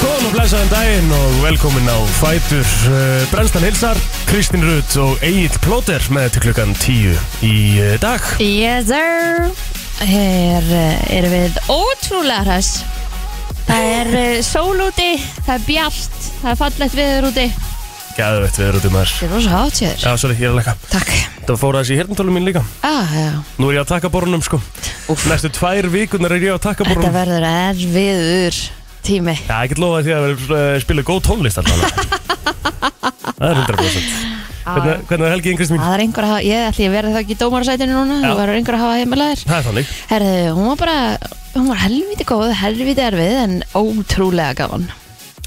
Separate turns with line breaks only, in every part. Góðan daginn og velkomin á Fætur uh, Brennstan Hilsar, Kristín Rutt og Egil Plóter með til klukkan 10 í uh, dag
Yes sir Hér eh, erum við ótrúlega hress Það er eh, sól úti, það er bjart Það er fallegt viður úti Það
Gæðvett við erum út um þar
er rosa hátt hjá þér
Já, sorry, ég er að lekka
Takk
Það fór aðeins í hirnatölum mín líka
ah, já.
Nú er ég á takkaborunum sko
Úff.
Næstu tvær vikunar er ég á
Þetta
takkaborunum
verður erfiður tími
Já, ég get lofað því að við uh, spila góð tónlist alltaf Það er 100% Hvernig, hvernig er helgi yngreist mín?
Það er einhver að hafa, ég ætli ég verði þá ekki í dómarasætinu núna
Já.
Þú verður einhver að hafa heimilegar
Það er þannig
Herðu, hún var bara, hún var helviti góð, helviti erfið En ótrúlega gaman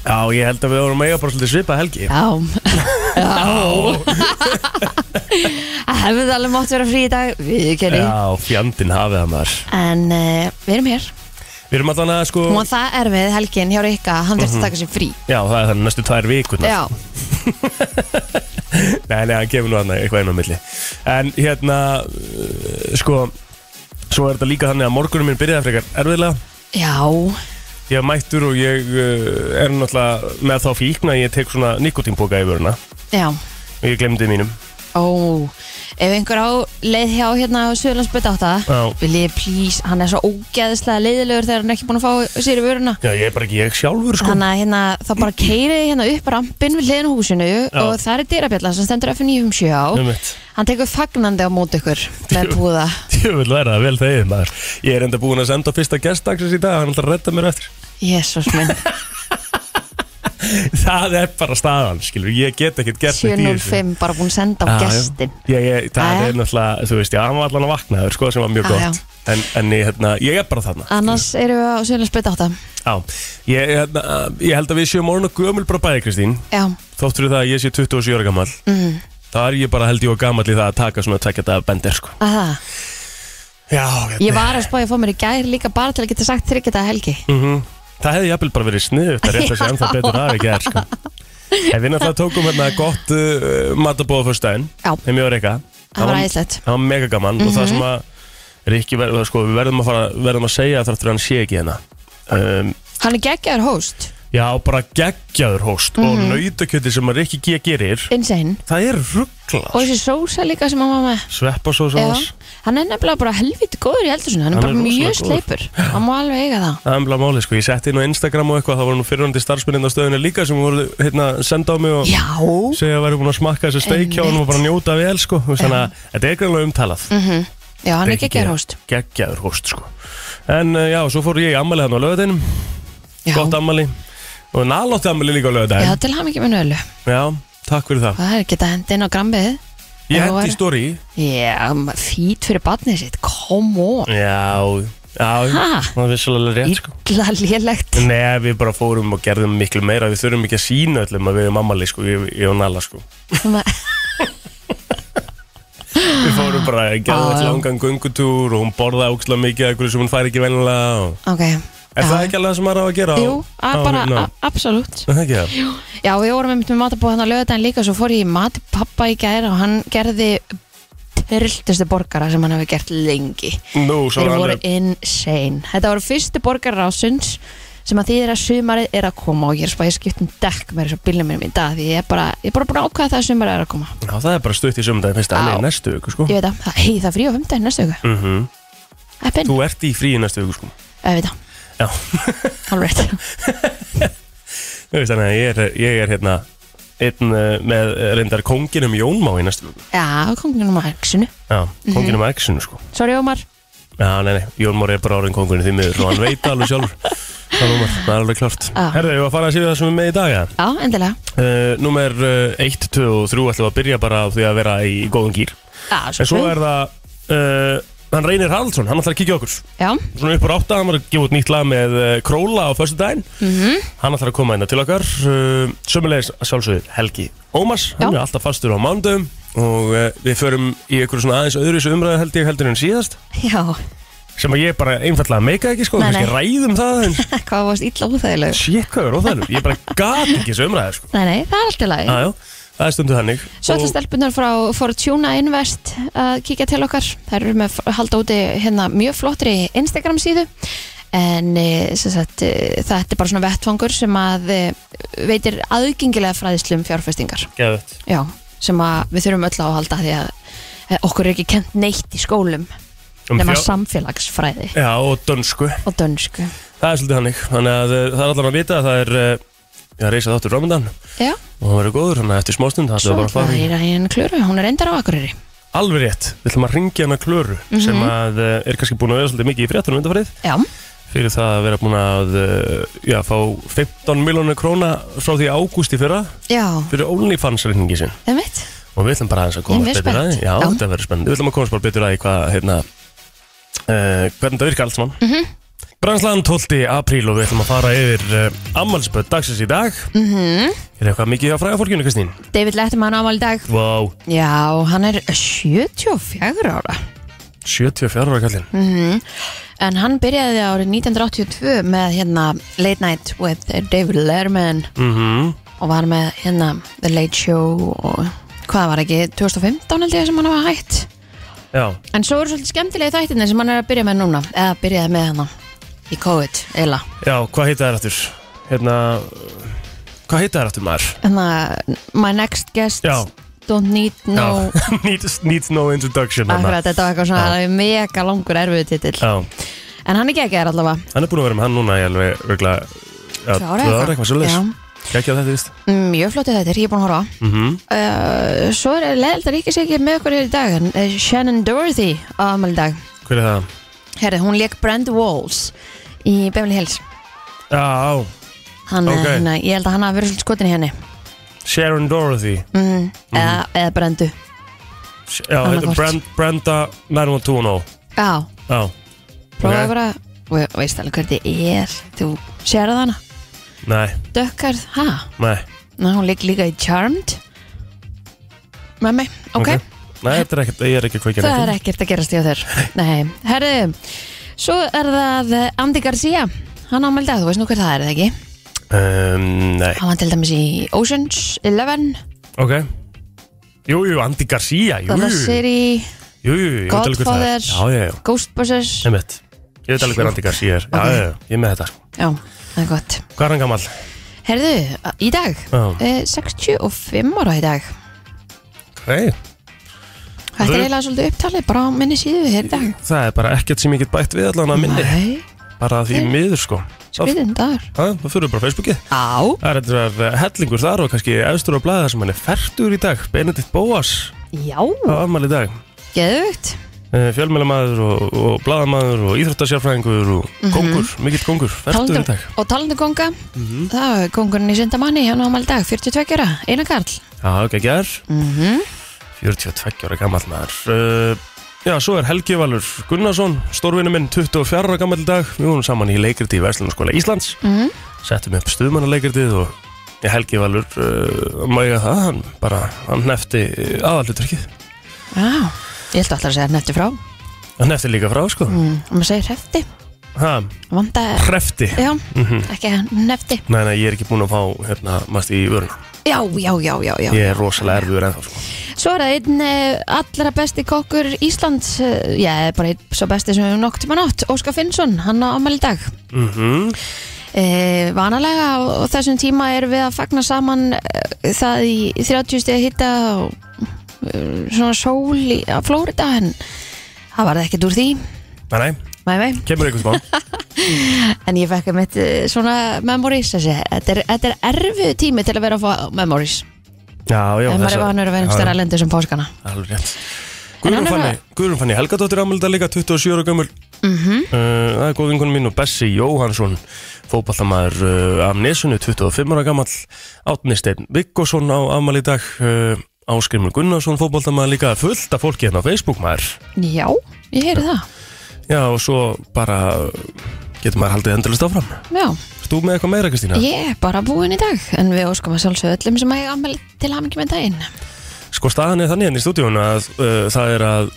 Já, ég held að við vorum að eiga bara svolítið svipað helgi
Já,
Já,
það hefði alveg mátt vera frí í dag Við
Já fjandinn hafið það maður
En uh, við erum hér
Við erum allan að sko
Hún var það erfið helgin hjá Rikka, hann
Mhm.
þurfti að taka sér frí.
Já, það er þannig næstu tvær vikunar
Já,
Nei, nei, hann kemur nú hann eitthvað inn á milli En hérna, uh, sko Svo er þetta líka þannig að morgunum minn byrjaði frekar erfiðlega
já,
Ég er mættur og ég uh, er náttúrulega með þá fíkn að ég tek svona nikotínpoka í vöruna
já.
og ég glemdi mínum
Ó, ef einhver á leið hjá hérna á Suðlandsbyrð átta,
Já.
vil ég please, hann er svo ógeðslega leiðilegur þegar hann er ekki búin að fá sér í vöruna.
Já, ég er bara ekki ég sjálfur, sko
Þannig að hérna, þá bara keiriði hérna upp rampinn við hliðin á húsinu og það er dyrabjallan sem stendur F957 um á.
Einmitt.
Hann tekur fagnandi á mót ykkur með púða.
Ég vil læra það vel þegið, maður Ég er enda búin að senda á fyrsta gestdagsins í dag Hann er alltaf að redda mér eftir
Jésús minn,
Það er bara staðan, skilur Ég get ekkert gert neitt í þessu.
705 bara búin að senda á
Já, já.
gestin.
Já, ég, það
Jæja.
er náttúrulega, þú veist, já, hann var allan að vakna þér, sko, sem var mjög
Já,
gott En, en ég, hérna, ég er bara þarna
Annars erum við á Suðlandsbyrð átta.
Já, ég, hérna, ég held að við séum orðin og gömul bara bæði, Kristín
Já,
Þótt fyrir það að ég sé 27 ára gammal
mm,
Það er ég bara held ég og gammal í það að taka svona tvekja daga bendir, sko
að það.
Já, hérna
Ég var að spája að fá mér í gær líka bara til að geta sagt þryggja þetta helgi
Mhm. Það hefði jafnvel bara verið sniðut að rétta sig ennþá betur af ekki er, sko En við náttúrulega tókum hérna gott uh, matabóð fyrst daginn
Já.
Þeim ég var eitthvað
Það var æðislegt Mhm.
Það var mega gaman og það sem að Rikki verður, sko, við verðum að, fara, verðum að segja þáttur að hann sé ekki hérna um,
Hann er geggjaður host,
Já, bara geggjaður hóst
Mhm.
og nautakjöti sem að Rikki G gerir
insane
Það er ruggla
Og þessi sósa líka sem hann var með
Sveppa svo sem
Já,
þess
hann er nefnilega bara helviti góður í eldursunni Hann er
Hann er
bara mjög
rosalega góður.
sleipur Hann má alveg eiga það
Það er umlað máli, sko, ég setti inn á Instagram og eitthvað Það voru nú fyrirhandi starfsmyndin á stöðinu líka sem voru hérna, senda á mig og
Já,
segja að væri búin að smakka þessu steik hjá hann og bara njóta vel, sko Þú veist, Þannig að þetta er greinlega umtalað
Mhm. já, hann er
Rikki G.
geggjaður host
Geggjaður hóst, sko En uh, já, svo fór ég í ammali hann á lögadeinum
Já,
gott ammali og nálótti ammali líka á
já
lögadaginn
til hann ekki með nölu
já, takk fyrir það
Það er geta hendi inn á grambið
ég
Já,
hendi
er-
í stóri
Já, fít fyrir barnið sitt, come on
já, já,
Ha?
það er svolítið rétt sko
Ítla lélegt
Nei, við bara fórum og gerðum miklu meira Við þurfum ekki að sína öllum að við erum ammali sko, ég, ég og Nala sko Við fórum bara að gera
Já,
þetta
já.
langan göngutúr og hún borðaði óksla mikið af hverju sem hún fær ekki vennilega og...
Ok
Er það
já.
ekki alveg það sem maður á að gera? á-
Jú, að
á-
bara,
ná?
no. absolutt
hérna. Er það ekki það?
Já, við vorum einmitt með matabóð hann á lögadaginn líka svo fór ég í mat pappa í gæra og hann gerði trilltustu borgara sem hann hefði gert lengi
Nú, svo
Þeir
er
voru
alveg
insane Þetta voru fyrstu borgarar ásins sem að þýðir að sumarið er að koma og ég er svo að ég skipt um dekk með þessu bílum mínum í dag því ég er bara, ég er bara búin að ákvaða það að sumarið er að koma
Já, það er bara stutt í sömndaginn fyrst að
Já.
nei, næstu viku sko
Ég veit að, það- hei það er frí á fymtudaginn næstu viku
mm
Eppin,
Þú ert í fríi næstu viku sko
ég veit að,
Já
alveg rétt
Þú veist þannig að ég er, ég er hérna einn uh, með eh, reyndar konginum Jónmá í næstu viku.
Já, konginum á exinu
Já,
Mhm.
konginum mm Action sko.
Sorry Ómar,
Já, nei, nei, Jónmár er bara orðin kongurinn því miður og hann veit það alveg sjálfur. Það er, númer, það er alveg klart.
Já.
Herðu, ég var að fara að séu það sem er með í dag, ja.
já, endilega
Uh, númer uh, 1, 2 og 3 ætlum við að byrja bara á því að vera í góðum gýr.
Já,
En svo er það, uh, hann Reynir Haraldsson, hann ætlar að kíkja á okkur.
Já,
Svona upp á átta, hann var að gefa út nýtt lag með uh, Króla á förstu daginn.
Mhm.
Hann ætlar að koma hérna til okkar. Uh, Sömmulegis að sjálfsögðu Helgi Ómas, hann
Já.
er alltaf fastur á mándum og uh, við förum í einhverju svona aðeins öðruvísu umræðu held ég heldur en síðast
já,
sem að ég bara einfallega meika ekki sko,
Nei,
kannski ræðum það en
hvað varst illa úþægilegur
shit hvað er óþægilegt, ég bara gat ekki þessu umræðu sko.
Nei, nei, það er allt í lagi
Jájá, það er stundu þannig
Svo ætla
Og-
stelpunar frá Fortuna Invest að kíkja til okkar. Þær eru með að halda úti hérna mjög flottri Instagram síðu en eh, sem sagt, eh, þetta er bara svona vettfangur sem að eh, veitir aðgengilega fræðislu um fjárfestingar
Geðvett
já, sem að við þurfum öll á að halda því að eh, okkur er ekki kent neitt í skólum
Um
nema samfélagsfræði
Já, og dönsku
og dönsku
Það er svolítið hannig Þannig að eh, það er allan að vita að það er eh, Já, reisa þáttur Ramadan
já,
Og það verður góður, þannig að eftir smástund Það er
svo
bara að fara í
er hann klöru, hún er endar á Akureyri
Alveg rétt, við ætlum að ringja hana Klöru Sem að eh, er kannski búin að vera svolítið mikið í fréttunum undanfarið
já,
Fyrir það að vera búin að eh, Já, fá 15 miljónu króna Frá því ágúst í fyrra
já,
Fyrir OnlyFans reikningi sin
það er mitt
Og við ætlum bara aðeins að
Ég
komast
er
betur að því
spennt.
Já,
Já.
þetta verður spennt Við ætlum að komast bara betur að því hvað hérna, uh, Hvernig það virkar allt saman mm
Mhm.
-hmm. Branslan 12. apríl og við ætlum að fara yfir uh, Ammalspöld dagsins í dag mm
Mhm.
-hmm. Er eitthvað mikið hjá fræða fólkinu, Kristín?
David Letterman ámali dag
Vá,
já, hann er 74 ára
74 ára kallinn mm.
Mhm. En hann byrjaði árið 1982 með hérna Late Night with David Letterman
Mhm.
og var með hérna The Late Show og hvað var ekki, 2015 held ég sem hann hafa hætt.
Já,
En svo eru svolítið skemmtilegi þættinni sem hann er að byrja með núna, eða byrjaði með hann í COVID, eila.
já, hvað heita þær aftur? Hérna, uh, hvað heita þær aftur maður?
Hérna, my next guest
Já.
don't need no...
Já, needs, needs no introduction hérna.
Akkurat, þetta var eitthvað svona alveg mega langur erfiðu titill.
Já,
En hann er geggjær allavega.
hann er búin að vera með hann núna í alveg örgla, já,
Tvö ára
tvö
eitthvað.
ára eitthvað svolítið
Já.
Kækja þetta, víst
Mjög flottu þetta, ég er búin að horfa á.
mm
Uh, svo er leðilt að Ríkis ekki með okkur hér í dag en eh, Shannon Dorothy á afmæli í dag
Hver er það?
Herri, hún leik Brand Walls í Beverly Hills
Já, já,
hann,
Ok.
okay. hérna, Ég held að hann hafi verið svolítið skotin í henni
Sharon Dorothy
mm, eða, eða Brandu
Sh- Já,
Annað
þetta er
hvort.
Brand, Branda 91210
Já,
oh. Já,
prófaðu
Ok.
bara og og veist alveg hver þetta er Þú sér það hana,
nei,
dökkar ha,
nei
Ná, hún leik líka í Charmed með mig, ok
Nei, þetta er ekkert, ég er ekki að kveikja
Það er ekkert að gerast hjá þér Nei, herri, svo er það eh, Andy Garcia, hann ámæli í dag, þú veist nú hver það er, er það ekki?
um, Nei,
Hann var til dæmis í Ocean's Eleven
ok Jú, jú, Andy Garcia, jú
Dallas
Jú,
City,
jú, jú, ég veit alveg hvað það er
Godfather.
Já, já, já,
Ghostbusters
einmitt Ég veit alveg hver Andy Garcia er Já,
Ok.
já, já, ég er með þetta sko.
Já, það er gott
Hvað er hann gamall?
Herðu, í dag
Já,
eh, 65 ára í dag
ok
Þetta
Þú-
er eiginlega svolítið upptalið bara á minni síðu hér í dag
Það er bara ekkert sem ég get bætt við allan að minni
Nei,
Bara því miður, sko Það
skriðin dagur
það- það fyrir bara á Facebookið
Á,
Það er eitthvað hellingur þar og kannski efstur á blæða sem hann er færtur í dag Benedikt Bóas
já,
á afmæli í dag
geðvögt
fjölmjölamaður og, og blæðamaður og íþróttasjárfræðingur og kongur, mikill kongur færtur í um dag Mhm.
Og Mhm. talandi um konga Það er kongurinn í Sindamanni, hann ámæli í dag 42 ára, Einar Karl
Já, ekki að ger,
mm
42 ára gammal maður uh, Já, svo er Helgi Valur Gunnarsson, stórvinu minn 24 ára gammal í dag, við vorum saman í leikriti í Vestlunarskóla Íslands,
Mhm.
settum upp stuðmannaleikritið og ég, Helgi Valur uh, mæga það, hann bara hann nefti aðalutrykkið
Já, ég held alltaf að segja nefti frá
hann nefti líka frá, sko
mm, Og maður segir hefti,
ha,
vanda
hrefti
Já,
Mhm.
ekki nefti
Nei, nei, ég er ekki búin að fá hérna, mæst í vöruna.
Já, já, já, já, já
Ég er rosalega erfiður ennþá, sko.
Svo er það einn eh, allra besti kokkur Íslands, eh, já, bara einn svo besti sem við nokk tíma nátt, Óskar Finnsson, hann á ammæli í dag.
Mm -hmm.
E, vanalega á, á þessum tíma erum við að fagna saman e, það í 30 stegi hitta og e, svona sól í, á Flórida, en það var ekkert úr því,
Nei, nei,
mæ mæ.
kemur einhvers mann.
En ég fekk mitt eh, svona memories, þessi, þetta er, þetta er erfið tími til að vera að fá memories.
Já, já,
en maður er vanur að vera um stærra lendu sem páskana.
Alveg rétt.
En
Guðrún
hann er
fann, Guðrún fann ég Helgadóttir ámelda líka, 27 ára gömul. Uh,
Mhm.
það er góð vingunum mín og Bessi Jóhansson, fótballamæður uh, af Nesunu, 25 ára gammal. Átni Steinn Viggosson á afmæli í dag. Uh, Áskrimur Gunnarsson, fótballamæður líka, fullt af fólki hérna á Facebook, maður.
Já, ég heyri það.
Já, og svo bara uh, getur maður haldið endalist áfram.
Já.
Stú með eitthvað meira, Kristína?
Ég er bara búin í dag En við óskum að sjálfsögðu öllum sem að ég ammæli til hamingi með daginn
Sko staðan er þannig henni í stúdíun að uh, það er að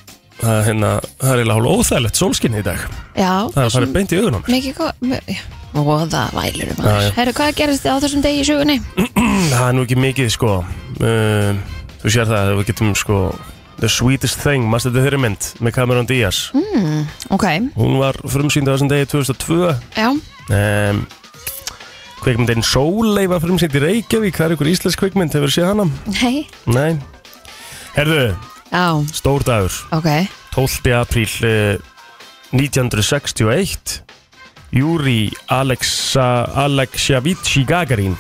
að hérna, það er eiginlega hálf óþægilegt sólskinni í dag
Já,
það er farið beint í augunum
mikið góð Voða vælur
Já,
um
já.
aðeins Herru, hvað gerist þið á þessum degi í
Mm,
sögunni?
það er nú ekki mikið sko uh, þú sér það að við getum sko The Sweetest Thing, maður þetta þeirri mynd með Cameron Diaz
Mm, ok,
Hún var frumsýnd á þessum degi 2002
já,
um, Kvikmyndin Sólei var frumsýnd í Reykjavík Það er ykkur íslensk kvikmynd, hefur séð hana?
nei,
Nei Herðu,
já,
stór dagur
ok,
12. apríl eh, 1961 Júri Alexa, Aleksjavici Gagarin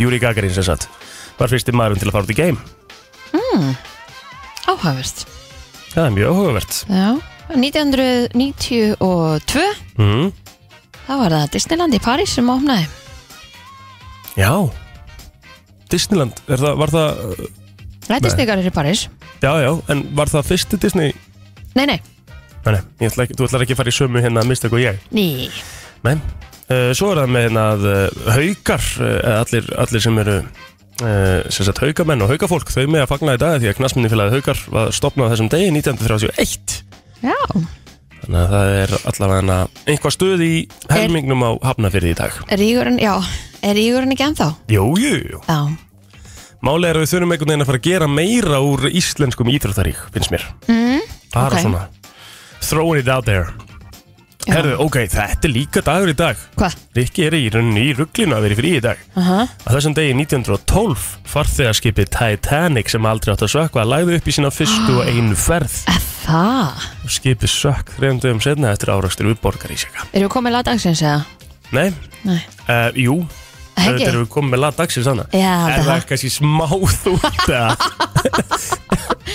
Júri Gagarin sem sagt var fyrsti maðurinn til að fara út í geim
Mm. áhafist,
það er mjög áhugavert
já, 1992,
mm.
þá var það Disneyland í París sem opnaði,
já Disneyland, er það, var það eh,
það er Disneygarir í París,
já já, en var það fyrsti Disney
nei, nei,
nei, nei, ég ætla ekki, þú ætlar ekki að fara í sömu hérna að mista og ég
ný,
Nei, uh, svo er það með hérna að uh, haukar, uh, allir, allir sem eru uh, sem sagt haukamenn og haukafólk þau með að fagna í dag því að knastminni félagið haukar var stopnað á þessum degi 1931
já,
þannig að það er allavega einhvað stuð í helmingnum á hafnafyrði í dag
er ígurinn, já, er ígurinn ekki ennþá,
Jú, jú, jú
já,
Máli er að við þurfum einhvern veginn að fara að gera meira úr íslenskum íþróttarík, finnst mér mm, Bara
ok.
svona Throwing it out there
Já.
Herðu, ok, þetta er líka dagur í dag
hvað,
Rikki er í rauninni í rugglinu að vera frí í dag
aha,
Á þessum degi 1912 farþegarskipið Titanic sem aldrei átt að sökva lagði upp í sína fyrstu og einu ferð
er það,
og skipið sökk þrejum dögum setna eftir árakstur við borgarísjaka.
eru við komið lagdagsins eða,
Nei,
nei,
uh, jú,
ekki,
þetta erum við komið með lag dagsins hana.
já,
Er það kannski smá þú það?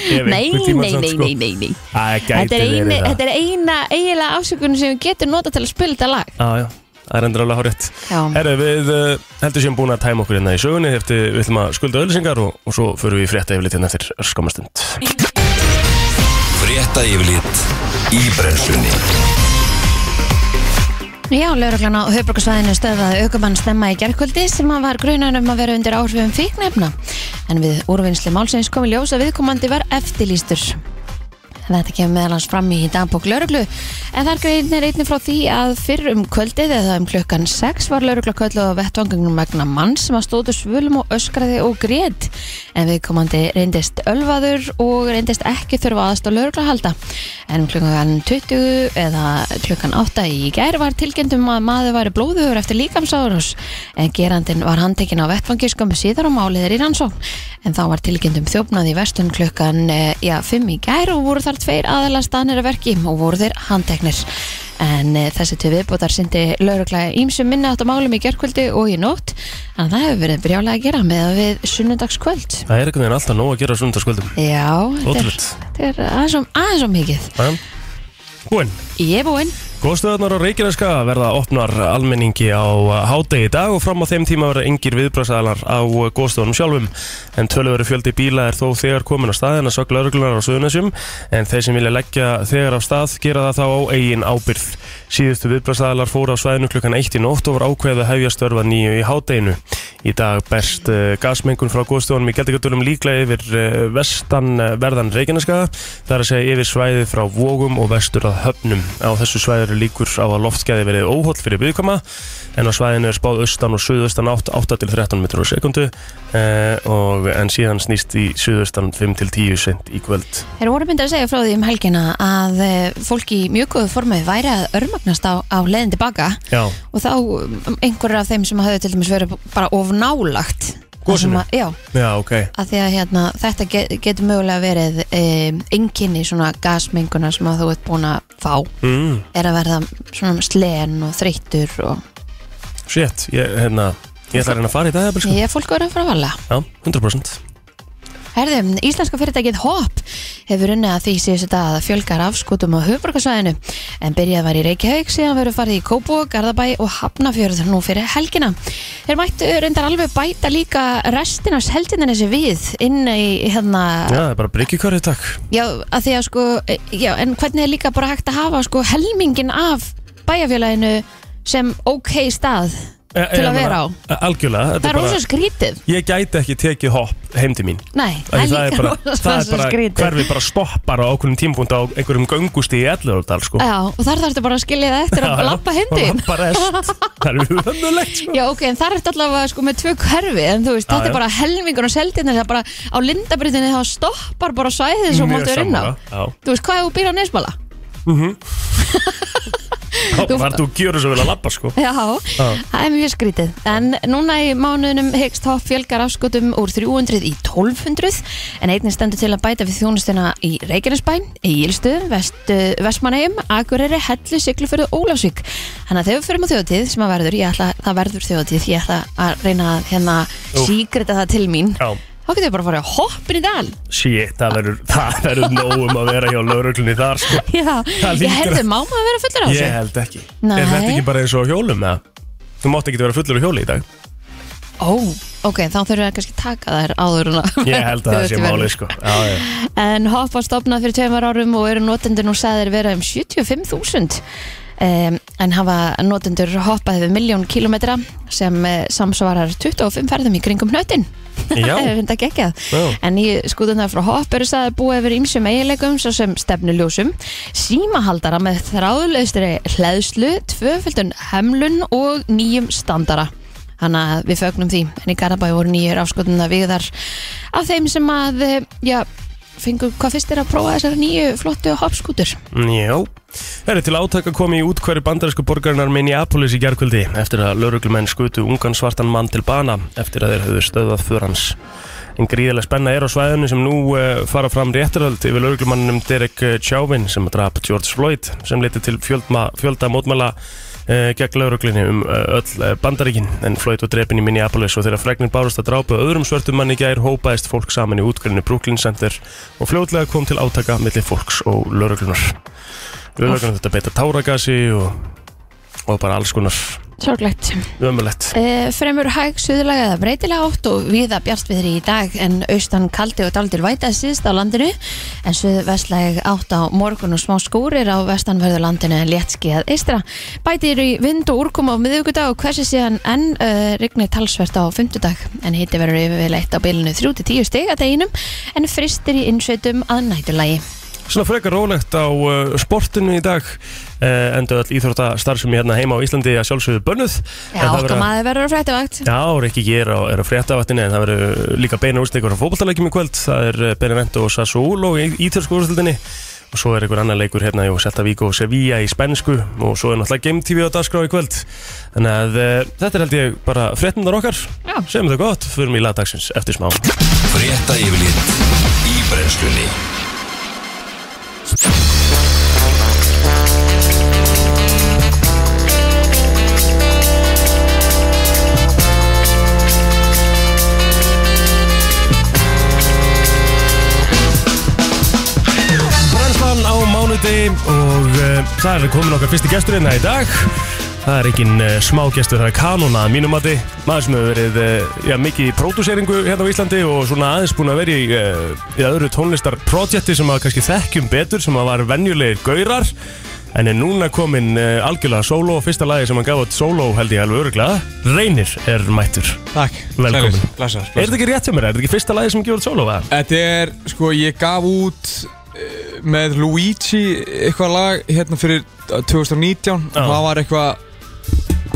Nei, nei, nei,
sko.
nei, nei, nei. Þetta
Þetta
er, eini, þetta er eina eiginlega afsökunum sem við getum nota til að spila þetta lag
Já, já, það er endur alveg hárétt.
Já,
Herra, við uh, heldur sem búin að tæma okkur hérna í sögunni, eftir, við ætlum að skulda öllisingar og, og svo förum við í frétta yfirleitt hérna eftir skamastund.
Frétta yfirlit í brennslunni
Já lauruglan á höfbrukarsvæðinu stöðaði aukumann stemma í gerkvöldi sem hann var grunan um að vera undir áhrifum fíknefna en við úrvinnsli málsins komi ljós að viðkomandi var eftirlýstur Þetta kemur meðal hans fram í dagbók lauruglu en þar greinir einnig frá því að fyrr um kvöldið eða um klukkan 6 var laurugla köllu á vettvangangum vegna mann sem að stóðu svölum og öskraði og grét en viðkomandi reyndist ölvaður og reyndist ekki þurfa aðstóð laurugla halda en um klukkan 20 eða klukkan 8 í gær var tilkynntum að maður væri blóðuður eftir líkamsárus en gerandin var handtekinn á vettfangi skömmu síðar og málið er í rannsókn en þá var tilkynntum þjófnað í vestun klukkan eh, já, 5 í gær og voru þar tveir aðalega stanir að verki og voru þeir handteknir en eh, þessi tvið viðbótar sindi lauruglega ímsum minna átt á málum í gerkvöldi og í nótt en það hefur verið brjálega að gera með við sunnudagskvöld
Það er einhvern veginn alltaf nóg að gera sunnundarskvöldum
Já, þetta er,
Ótrúlegt.
þetta er aðeins og- aðeins og mikið
Búinn
Ég er búinn
Góðstöðarnar á Reykjaneska verða opnar almenningi á uh, hádegi í dag og fram á þeim tíma verða engir viðbröðsæðalar á góðstöðunum sjálfum en töluveru fjöldi bíla er þó þegar komin á staðin að sögla lauruglunar á Suðunasjum en þeir sem vilja leggja þegar á stað gera það þá á eigin ábyrð Síðustu viðbröðsæðalar fóru á svæðinu klukkan 1 í nótt og var ákveðið að hefja störfa nýju í hádeginu Í dag berst uh, gasmengun frá góðstöðunum í Geldingadölum líklega yfir uh, vestan uh, verðan Reykjaneskaða Það er að segja yfir svæðið frá vógum og vestur að höfnum Á þessu svæðið eru líkur á að loftskæði verið óhóll fyrir byggkama En á svæðinu er spáð austan og suðaustan 8, 8 til 13 metrur á sekundu eh, og, En síðan snýst í suðaustan 5 til 10 sent í kvöld
Þeir voru myndið að segja frá því um helgina að eh, fólk í mjög góðu formið væri að örmagnast á, á leiðin tilbaka
Já,
og þá um, einhverjar af þeim sem höfðu til dæmis verið bara of nálagt Það sem
Gosinu?
að- Já,
já, ok
að því að hérna, þetta get, getur mögulega verið um, enginni svona gasmenguna sem að þú ert búin að fá
mm,
er að verða svona slen og þreyttur og
Shit, ég, hérna, ég ætla að reyna að fara í dag jafnvel, sko.
ég er fólk verið að fara að varlega
Já, 100%
Herðum, íslenska fyrirtækið HOP hefur unnið að því síðustu dag að fjölgar afskotum á höfbrukarsvæðinu en byrjað var í Reykjavík síðan verið farið í Kópó, Garðabæ og Hafnafjörð nú fyrir helgina. Þeir mættu reyndar alveg bæta líka restin af heldinanesi við inn í hérna,
Já, það er bara bryggjukörði takk
já, að því að e, sko, já, en hvernig er líka bara hægt að hafa sko helmingin af bæjarfélaginu sem ok stað
E,
til að vera á
Eh, Algjörlega, þetta
Það er ósveg skrítið
Ég gæti ekki tekið hopp heim til mín
Nei,
Af því Það er bara,
líka
það er
rosa
bara
skrítið.
hverfið bara stoppar á okkurum tímpúnd á einhverjum göngusti í Ellurardal sko.
Já, og þar þarfstu bara að skilja það eftir að lappa heimdýn
Lappa rest Það er umöðulegt sko.
Já, ok, en þar ertu allavega sko með tvö hverfi en þú veist,
Já,
þetta
já.
er bara helmingur og seldinni það er bara á lindabritinni þá stoppar bara svæðið sem
Mjög
máttu er inn á
sammála, já.
Þú veist, hvað er þú býr á nesmála?
Þá
Þú-
var þú gjörur svo vel að lappa sko.
Já, það er mjög skrítið En núna í mánuðinum hegst þá fjölgar afskotum úr 300 í 1200 En einnig stendur til að bæta við þjónustuna í Reykjanesbæ, Egilstu, Vest, Vestmanheim, Akureyri, Hellu, Siglufjörðu, Ólafsvík Þannig að þegar við fyrir á þjóðatíð sem að verður, ég ætla, það verður þjóðatíð Ég ætla að reyna að hérna síkrita það til mín
Já,
Þá getum við bara að fara að hoppin í dal
shit, það verður Það verður nógum að vera hjá lauruglunni þar sko.
Já,
Það
ég
lítur
herði
að-
máma að vera fullur á þessu
Ég held ekki
Nei.
Er þetta ekki bara eins og á hjólum eða? Þú mátt ekki vera fullur á hjóli í dag
Ó, ok, þá þurfum við að kannski taka þær áður en að-
Ég held að það sé
Þú veist,
máli sko. já, já.
En hopp var stopnað fyrir tveimar árum og eru notendur nú sagðir vera um 75.000 um, en hafa notendur hoppað yfir miljón kilometra sem uh, samsvarar 25 ferðum í kringum hnöttin
Já.
ef þetta geggjað
Já.
en í skúðunar frá hopp eru sagði búið yfir ýmsum eiginleikum svo sem stefnuljósum símahaldara með þráðlaustri hleðslu, tvöföldun hemlun og nýjum standara Þannig að við fögnum því, en í Garabæ voru nýjur afskotuna viðar af þeim sem að, eh, já, fengu hvað fyrst er að prófa þessar nýju flottu hoppskútur.
Já, það er til átaka komið í útkværi bandarísku borgarinnar Minneapolis í gerkvöldi eftir að lauruglumenn skutu ungan svartan mann til bana eftir að þeir höfðu stöðað för hans. En gríðilega spenna er á svæðinu sem nú uh, fara fram réttaröld yfir lauruglumanninum Derek eh, Chauvin sem draf George Floyd sem liti til fjöldma, fjölda mótmæla uh, gegn lauruglunni um uh, öll uh, bandaríkin en Floyd var drepin í Minneapolis og þegar fregnir bárust að drápu öðrum svörtum manni í gær hópaðist fólk saman í útkvælinu Brooklyn Center og fljótlega kom til átaka millir fólks og lauruglunar. Lauruglunar þetta beita táragasi og, og bara alls konar
Sorglegt.
ömulegt.
E, fremur hæg suðulega eða breytilega átt og viða bjartviðri í dag en austan kaldi og daldir væta síðst á landinu en suðvestlæg átt á morgun og smá skúrir á vestanverðu landinu en léttski að eistra. Bætir í vind og úrkoma á miðugudag og hversi síðan enn uh, rignir talsvert á fymtudag en hitti verður yfirleitt á bylunu 3-10 stig að deginum en fristir í innsveitum að nætulagi.
Svona frekar rólegt á uh, sportinu í dag uh, enda öll íþróttastarf sem ég hérna heima á Íslandi að sjálfsögðu bönnuð. En
Já,
það
okkar
verða-
maður verður á fréttavakt.
Já, Rikki G er á, er á fréttavatninu en það verður uh, líka beina úrstekur á fótballtalækjum í kvöld það er eh, Benevento og Sassuolo í ítölsku úrstildinni og svo er einhver annar leikur hérna í Celta Vigo og Sevilla í spænsku og svo er náttúrulega Game TV á dagskrá í kvöld þannig að e, þetta er held ég bara fréttundar okkar
Já.
segjum þau gott, förum í lagdagsins eftir smá
Frétta yfirlit í brennslunni
Brennslan á mánudegi og uh, það er komin okkar fyrsti gestur hérna í dag Það er engin uh, smá gestur, það er kanona að mínum mati maður sem hefur verið uh, já, mikið í pródúseringu hérna á Íslandi og svona aðeins búin að vera í, uh, í öðru tónlistarprojekti sem að kannski þekkjum betur sem að var venjulegir gaurar en er núna komin uh, algjörlega solo og fyrsta lagi sem hann gaf át solo held ég alveg öruglega Reynir er mættur
Takk,
Velkomin.
Sælir,
Er
Blessar, blessar.
þetta ekki rétt hjá mér? Er þetta ekki fyrsta lagi sem hann gaf át solo? eða?
Þetta er, sko, ég gaf út eh, með Luigi eitthvað lag hérna fyrir 2019
Já.
og það var eitthvað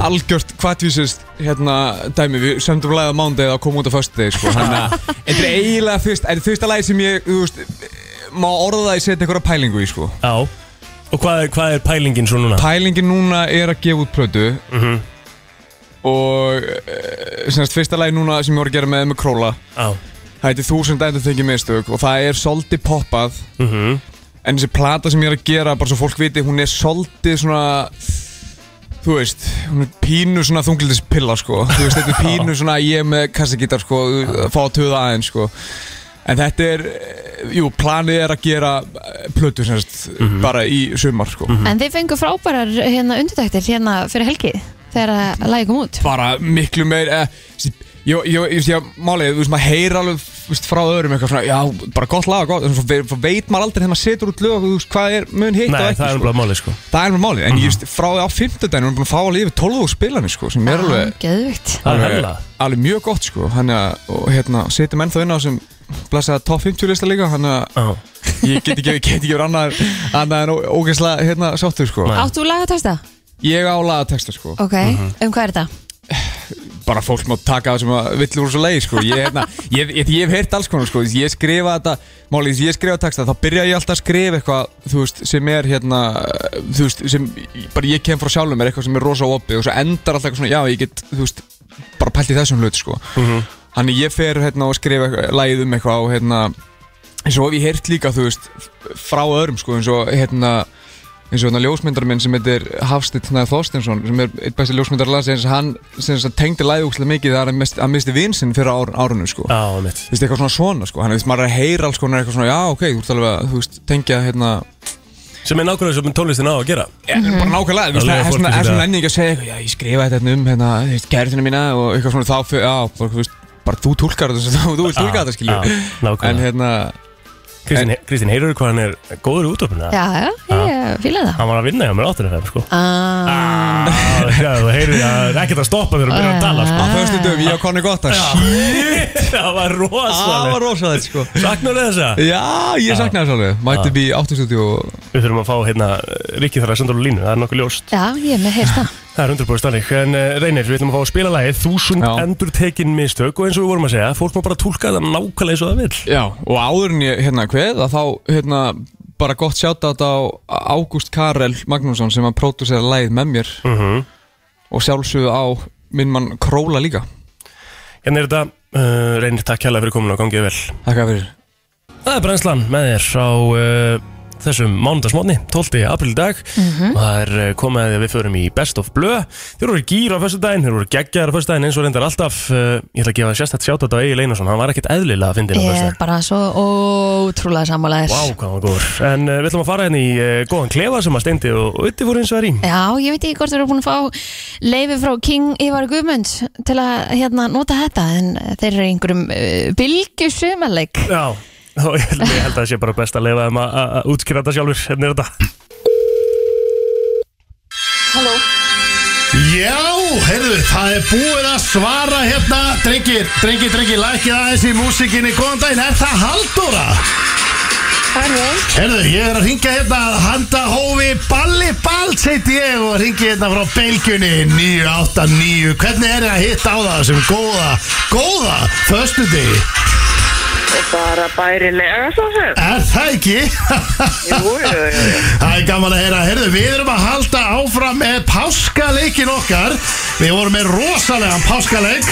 algjört kvartvísist hérna dæmi, við sömdum lagið á mándegi og komum út á föstudegi, sko, hann að þetta er eiginlega fyrst, þetta er fyrsta lagi sem ég, þú veist, eh, má orða það að ég setja einhverja pælingu í, sko
Já Og hvað er, hvað er pælingin svo núna? Mhm.
Pælingin núna er að gefa út plötu og eh, sem sagt, fyrsta lagi núna sem ég voru að gera með með Króla
Já
Það heitir þúsund endur þengi mistök og það er svolítið poppað
Mhm.
En þessi plata sem ég er að gera, bara svo fólk viti, hún er svolítið svona Þú veist, hún er pínu svona þunglindis pilla sko Þú veist, þetta er pínu svona ég með kassagítar sko, fá að töða aðeins sko En þetta er, eh, jú, planið er að gera eh, plötu sem sagt,
Mhm.
bara í sumar sko
Mm.
En þið fengu frábærar hérna undirtæktir hérna fyrir helgi þegar að lagi kom út.
Bara miklu meir, eh, þessi- ég Ég, ég, ég, ég málið, þú veist, maður heyr alveg þú veist, frá öðrum eitthvað svona, já, bara gott lag, gott, en svo ve- svo veit maður aldrei þegar maður setur út lög, þú veist, hvað er mun hitt og
Nei,
ekki,
það er
sko.
umlað máli sko
Það er alveg málið, en ég veist, frá því á fimmtudaginu, við erum búin að fá alveg yfir 12 spilanir, sko, sem er alveg,
Geðvikt
Það er
alveg,
hella
alveg mjög gott, sko, hann er, og hérna, setjum ennþá inn á sem, blessaða top 50 lista líka, hann er,
Já.
ég get ekki, get ekki verið annað, annað en ó- ógeðslega, hérna, sáttur, sko.
Nei. Mhm.
Áttu lagatesta?
Ég á lagatexta, sko.
Ok, um hvað er þetta?
bara fólk má taka það sem að villur úr svo leið sko. ég, hérna, ég, ég, ég hef heyrt alls konar sko. ég skrifa þetta, málið ég skrifa texta þá byrja ég alltaf að skrifa eitthvað þú veist, sem er hérna þú veist, sem bara ég kem frá sjálfum mér eitthvað sem er rosa opið og svo endar alltaf eitthvað svona já, ég get, þú veist, bara pælt í þessum hlut sko.
Mhm.
Þannig ég fer hérna og skrifa eitthvað- lagið um eitthvað og hérna eins og hef ég heyrt líka, þú veist, f- frá öðrum sko, eins og hérna eins og hérna ljósmyndar minn sem heitir Hafstitt Snæður Þorstinsson sem er eitt besti ljósmyndar landsins hann sem þess að tengdi læðúkslega mikið þegar hann mist- hann misti vinsinn fyrir ár, árunum sko
Já, mitt
þú veist, eitthvað svona svona sko hann veist, maður er að heyra alls konar eitthvað svona já, ok, þú ert alveg að, þú veist, tengja hérna
Sem er nákvæmlega sem tónlistin á að gera
Já, bara
Mhm.
nákvæmlega,
Að
þú veist, það
leyfa
er svona,
fólki
er
sér
svona
að-
ennig að segja eitthvað, já, ég skrifa þetta hérna um, hérna, þú veist, gerðina mína og eitthvað svona þá, fyr, já, bara, þú veist, bara þú tólkar þetta, sem þú, þú vil tólka
Já,
þetta, skilju.
já, nákvæmlega.
En hérna,
Kristín, Kristín heyrur hvað hann er góður í útdorfinu
Já, já, ég fíla það
Hann var að vinna hjá mér áttunum þeim sko
Ah,
Já, þú heyrir að það er ekkert að stoppa þegar að byrja að tala
á
sko.
föstu dögum, ég og Conny Gottar,
Það var
það
rosalega
var rosalega, sko.
Saknar þess að
Já, ég sakna þess alveg, mætti bí áttustúdíu og,
Við þurfum að fá hérna Rikki þarf að senda úr línu Það er nokkuð ljóst
Já, ég er með heyrt það
Það er undurbúið stannig En uh, Reynir, við ætlum að fá að spila lagið Þúsund
Já.
endur tekin mistök Og eins og við vorum að segja Fólk má bara tólka það nákvæmlega eins og það vil
já, og áður en ég, hérna, hvað, þá, hérna, bara gott sjáta þetta á Ágúst Karel Magnússon sem að pródúsera læð með mér
Mhm.
og sjálfsögðu á minn mann Króla líka.
Hérna er þetta uh, Reynir, takk hérlega fyrir komin og gangið vel
Takk fyrir.
Það er brennslan með þér á uh, þessum mánudagsmótni, 12. april í dag og
Mhm.
það er uh, komið að því að við förum í Best of Blö Þeir voru gýr á föstudaginn, þeir voru geggjaðar á föstudaginn eins og reyndar alltaf uh, Ég ætla að gefa sérstætt sjátat á Egil Einarsson, hann var ekkert eðlilega að fyndi á
Ég
föstudaginn
er bara svo ótrúlega sammálaðir
Vá, hvað hann var góður En uh, við ætlum að fara hérna í uh, góðan klefa sem að steindi og og Utti fór eins og er í
Já, ég veit ekki hvort við erum búin að fá leifi frá King Ívar Guðmunds til að hérna, nota þetta en eh, þeir eru í einhverjum uh, bylgju sumarleik
Já, og ég held- ég held að það sé bara best að leifa þeim að- að að útskýra þetta sjálfur Hérna er þetta
Já, heyrðu, það er búið að svara hérna Drengir, drengir, drengir, lækið aðeins í músikinni Góðan daginn, er það Halldóra? Heyrðu, ég er að ringja hérna að handa hófi Balli Balls heiti ég og ringi hérna frá Belgjunni 989 Hvernig er ég að hitta á það sem góða, góða, föstudegi?
Bara bærilega svo sem
Er það ekki?
Jú, jú, jú, jú.
Það er gaman að heyra, heyrðu, við erum að halda áfram með páskaleikin okkar Við vorum með rosalegan páskaleik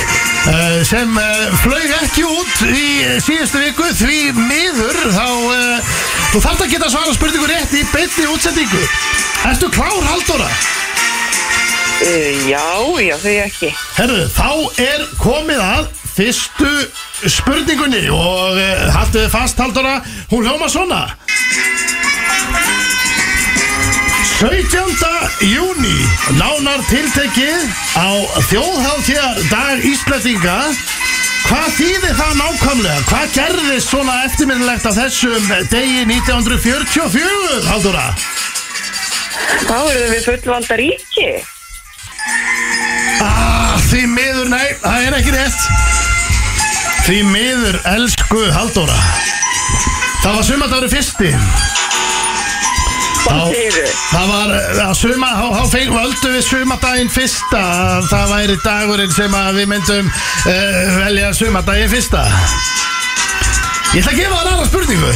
eh, sem eh, flög ekki út í eh, síðustu viku því miður þá eh, þú þarft að geta svara spurningu rétt í beinni útsendingu Ertu klár, Halldóra?
Eh, Já, já, þau ekki
Herru, þá er komið að fyrstu spurningunni og uh, haldið þið fast Halldóra, hún hljóma svona 17. júni nánar tiltekið á þjóðháttíðar dag Íslandinga Hvað þýðir það nákvæmlega? Hvað gerðist svona eftirminnilegt af þessum degi 1944, Halldóra?
Þá erum við fullvalda ríki
Ah, því miður, nei, það er ekki rétt Því miður, elsku Halldóra Það var sumardagur fyrsti
Hvað
Já.
segirðu?
Það var, eh, að suma, þá, þá feng, völdu við sumardaginn fyrsta að Það væri dagurinn sem að við myndum uh, velja sumardaginn fyrsta Ég ætla að gefa þér aðra spurningu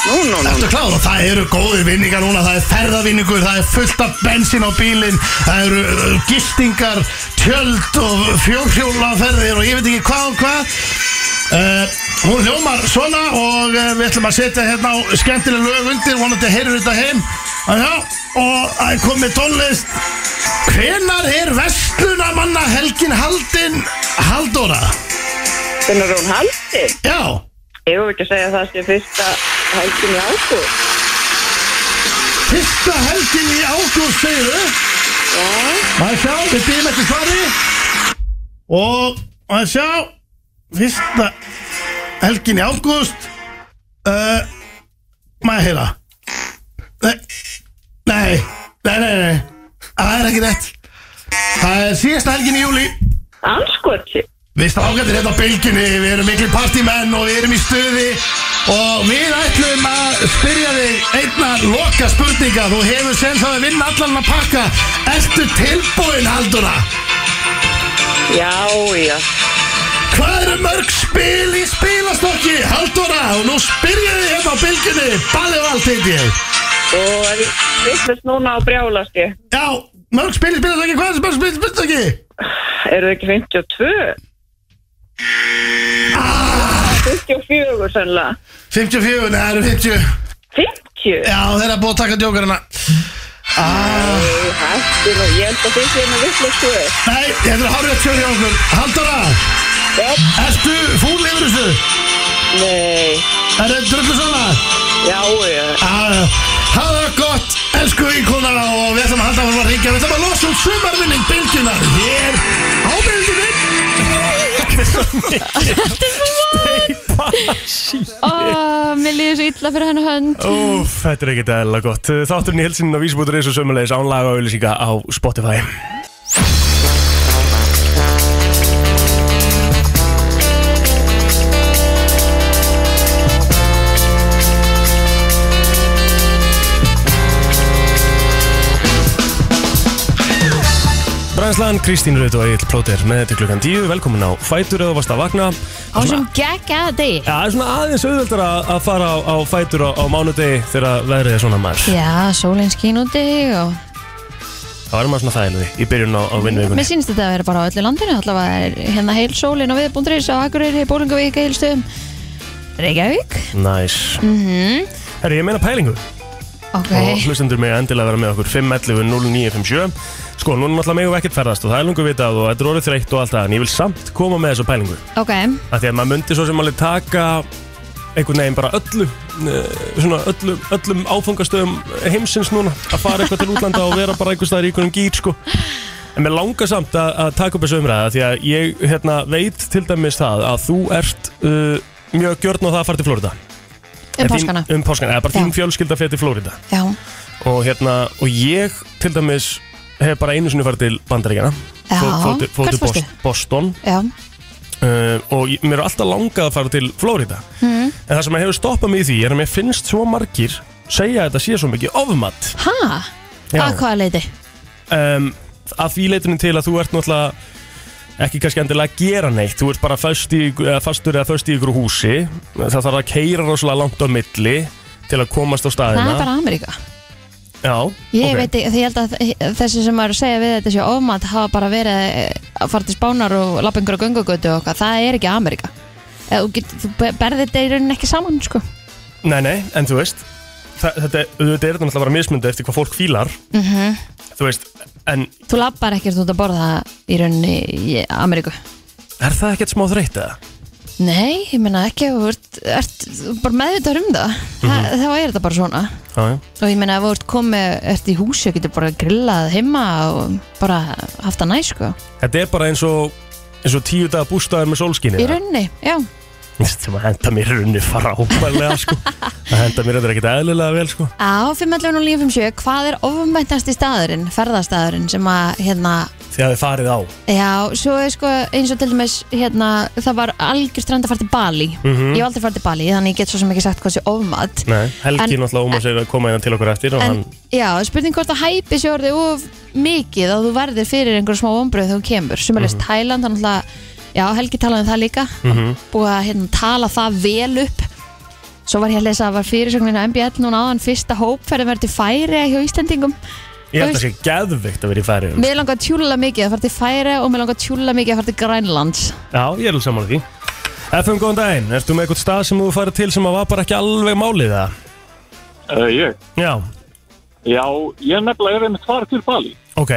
Nú, nú, nú
Ertu klár? Og það eru góðir vinningar núna, það er ferðavinningur, það er fullt af bensín á bílinn, það eru uh, gistingar, tjöld og fjórhjólaferðir og ég veit ekki hvað og hvað. Uh, hún hljómar svona og uh, við ætlum að setja hérna á skemmtileg lög undir, vonandi heyrur þetta heim. Ajá, og það er komið tónlist. Hvenar er vestlunamanna helgin haldin Haldóra?
Hvernig er hún haldið?
Já,
um Ég voru ekki að segja það sem fyrsta haldin í ágúr
fyrsta helgin í ágúst segir þau.
Já,
Það er sjá, við býðum eftir svari Og og að sjá fyrsta helgin í ágúst uh, maður heyra nei, nei, nei, nei, nei það er ekki rétt það er síðasta helgin í júli
Anskoti.
Við strákandir hérna á bylginni, við erum miklu partímenn og við erum í stuði og við ætlum að spyrja þig einna loka spurninga. Þú hefur sem það að vinna allan að pakka. Ertu tilbúin, Haldura?
Já, já.
Hvað eru mörg spil í spilastokki, Haldura? Og nú spyrja þig hérna á bylginni, balið og allt heit ég.
Og ef ég vissast núna á brjálast ég.
Já, mörg spil í spilastokki, hvað er mörg spil í spilastokki?
Eru þið ekki 52? 54 sannlega.
54, neða, það eru 50.
50?
Já, þeirra búið að taka djókarina. Ah.
Nei, hættu nú. Ég held að þið séu með vissast
Nei, ég hefði hárið að tjóri á okkur. Haldura!
Já.
Ertu fúl yfir þessu?
Nei.
Er þetta drullu svona?
Já, já.
Já, hafa það gott, elsku vinkona og við ætlum að halda áfram að ringja. Við ætlum að losa út sumarvinning bylgjunar hér á bylgjunni.
Ó, mér líður svo illa fyrir hennu hönd
Úf, þetta er ekkert eðla gott Þátturinn í helsinn á vísbútur eins og sömulegis án laga og auðlýsinga á Spotify Brænslan, Kristín Rut og Egil Plóter með þetta klukkan 10, velkomin á Fætur eða varst að vakna
Á sem gekk eða degi
Já, það er svona aðeins auðveldar að að fara á, á fætur á, á mánudegi þegar veðrið er svona maður.
Já, sólinn skín úti og
Það var maður svona þægilegði í byrjun á, á vinnuvikunni.
Mér sínst þetta að vera bara á öllu landinu allavega er hérna heil sólin á viðbúndurins á Akureyri, Bólingavík, Egilstöðum Reykjavík
Næs. Mm -hmm. Herri, ég meina pælingu
Mhm. Ok,
og hlustendur mig endilega vera með okkur 511-0957. Sko, núna náttúrulega megum við ekkert ferðast og það er lungu vitað og þetta er orðið þreytt og allt það en ég vil samt koma með þessu pælingu.
ok, Um
Af því að maður myndi svo sem alveg taka einhvern veginn bara öllu eh, svona öllu, öllum áfangastöðum heimsins núna að fara eitthvað til útlanda og vera bara einhvers staðar í einhvern gýr sko En mér langar samt að, að taka upp þessu umræða því að ég hérna, veit til dæmis það að þú ert uh, mjög gjörn á það að fara til Flórida.
um páskana
Um páskana, eða bara
Já.
þín fjölskylda fyrir til Flórida.
Já,
Og, hérna, og ég til dæmis hef bara einu sinni farið til Bandaríkjana.
Já,
Fóð til, fór
hvert
til
fórstu?
Bos- Boston
já,
uh, og ég, mér er alltaf langað að fara til Flórida.
Mhm.
Mm. En það sem hefur stoppað mig í því er að mér finnst svo margir segja að þetta sé svo mikið ofmat.
ha,
Já.
að hvaða leiti
um, að því leitinu til að þú ert náttúrulega ekki kannski endilega að gera neitt þú ert bara fast í, eða fastur eða föst í ykkur húsi það þarf að keira rosalega langt á milli til að komast á staðina
Það er bara Ameríka
Já,
Ég
ok.
veit ekki, því ég held að þessi sem maður segja við þetta sé ofmat hafa bara verið eh, að fara til spánar og lappa einhverja göngugötu og okkar, það er ekki Ameríka Eða Þú, get, þú berði þetta í rauninni ekki saman sko.
Nei, nei, en þú veist þa- þetta, þetta er náttúrulega bara mismundu eftir hvað fólk fílar -hmm. þú veist, en
Þú lappar ekkert út að borða í rauninni í Ameríku
er það ekkert smá þreytt eða?
Nei, ég meina ekki ef þú ert, ert þú bara meðvitað um það mm þá er þetta bara svona
Já, já.
og ég meina ef þú ert komið, ert í húsi og getur bara grillað heima og bara haft það næ sko.
Þetta er bara eins og eins og tíu daga bústaður með sólskinni
í rauninni, já,
sem að henda mér runni frábælega sko. að henda mér þetta er ekkert eðlilega vel sko.
á 511 og 957 hvað er ofmættast í staðurinn, ferðastaðurinn sem að hérna
því að þið farið á
Já, svo er sko eins og til dæmis hérna, það var algjör strand að fara til Bali Ég hef aldrei farið til Bali, þannig ég get svo sem ekki sagt hvað sé ofmat
Nei, Helgi
En-
náttúrulega ómar segir að koma hérna til okkur eftir og
En, já, spurning hvort að hæpi sé orðið of mikið að þú verðir fyrir einhver smá ombröð þegar þú kemur Sumarleist
Mhm.
mm -hmm. Tæland, þannig að Já, Helgi talaði um það líka Búið að hérna, tala það vel upp Svo var ég að lesa að var fyrirsögnin á MBL núna áðan fyrsta hópferðin verið til færi hjá Íslendingum
hann ég held að það sé geðvikt að vera í hérna. færiðum
Mér langar tjúla mikið að fara til færi og mér langar tjúla mikið að fara til Grænlands
Já, ég er alveg samanlega því FM, góðan daginn, ertu með eitthvað stað sem þú farið til sem að var bara ekki alveg málið það?
Uh, ég?
Já,
Já, ég nefnilega er einmitt farið til Bali
ok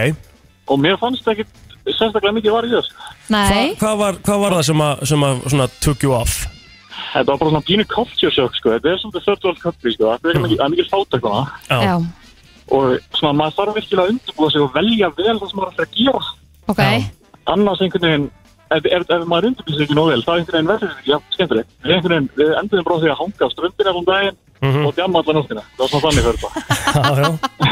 og mér fannst ekki sérstaklega mikið varið í þess.
Nei,
Hva, hvað, var, hvað var það sem að, sem að svona, took you off?
Þetta var bara svona pínu culture shock, sko. Þetta er svona third world country, sko. Þetta er mikið, það er mikið fátak svona.
já,
Og svona, maður þarf virkilega að undirbúa sig og velja vel það sem maður ætlar að gera.
ok
Já.
Annars einhvern veginn ef, ef, ef maður undirbýr sér ekki nóg vel þá einhvern veginn verður þetta ekki jafn skemmtilegt við einhvern veginn, við enduðum bara á því að hanga á ströndina allan daginn og djamma allan nóttina það var svona þannig fyrir það
já, já.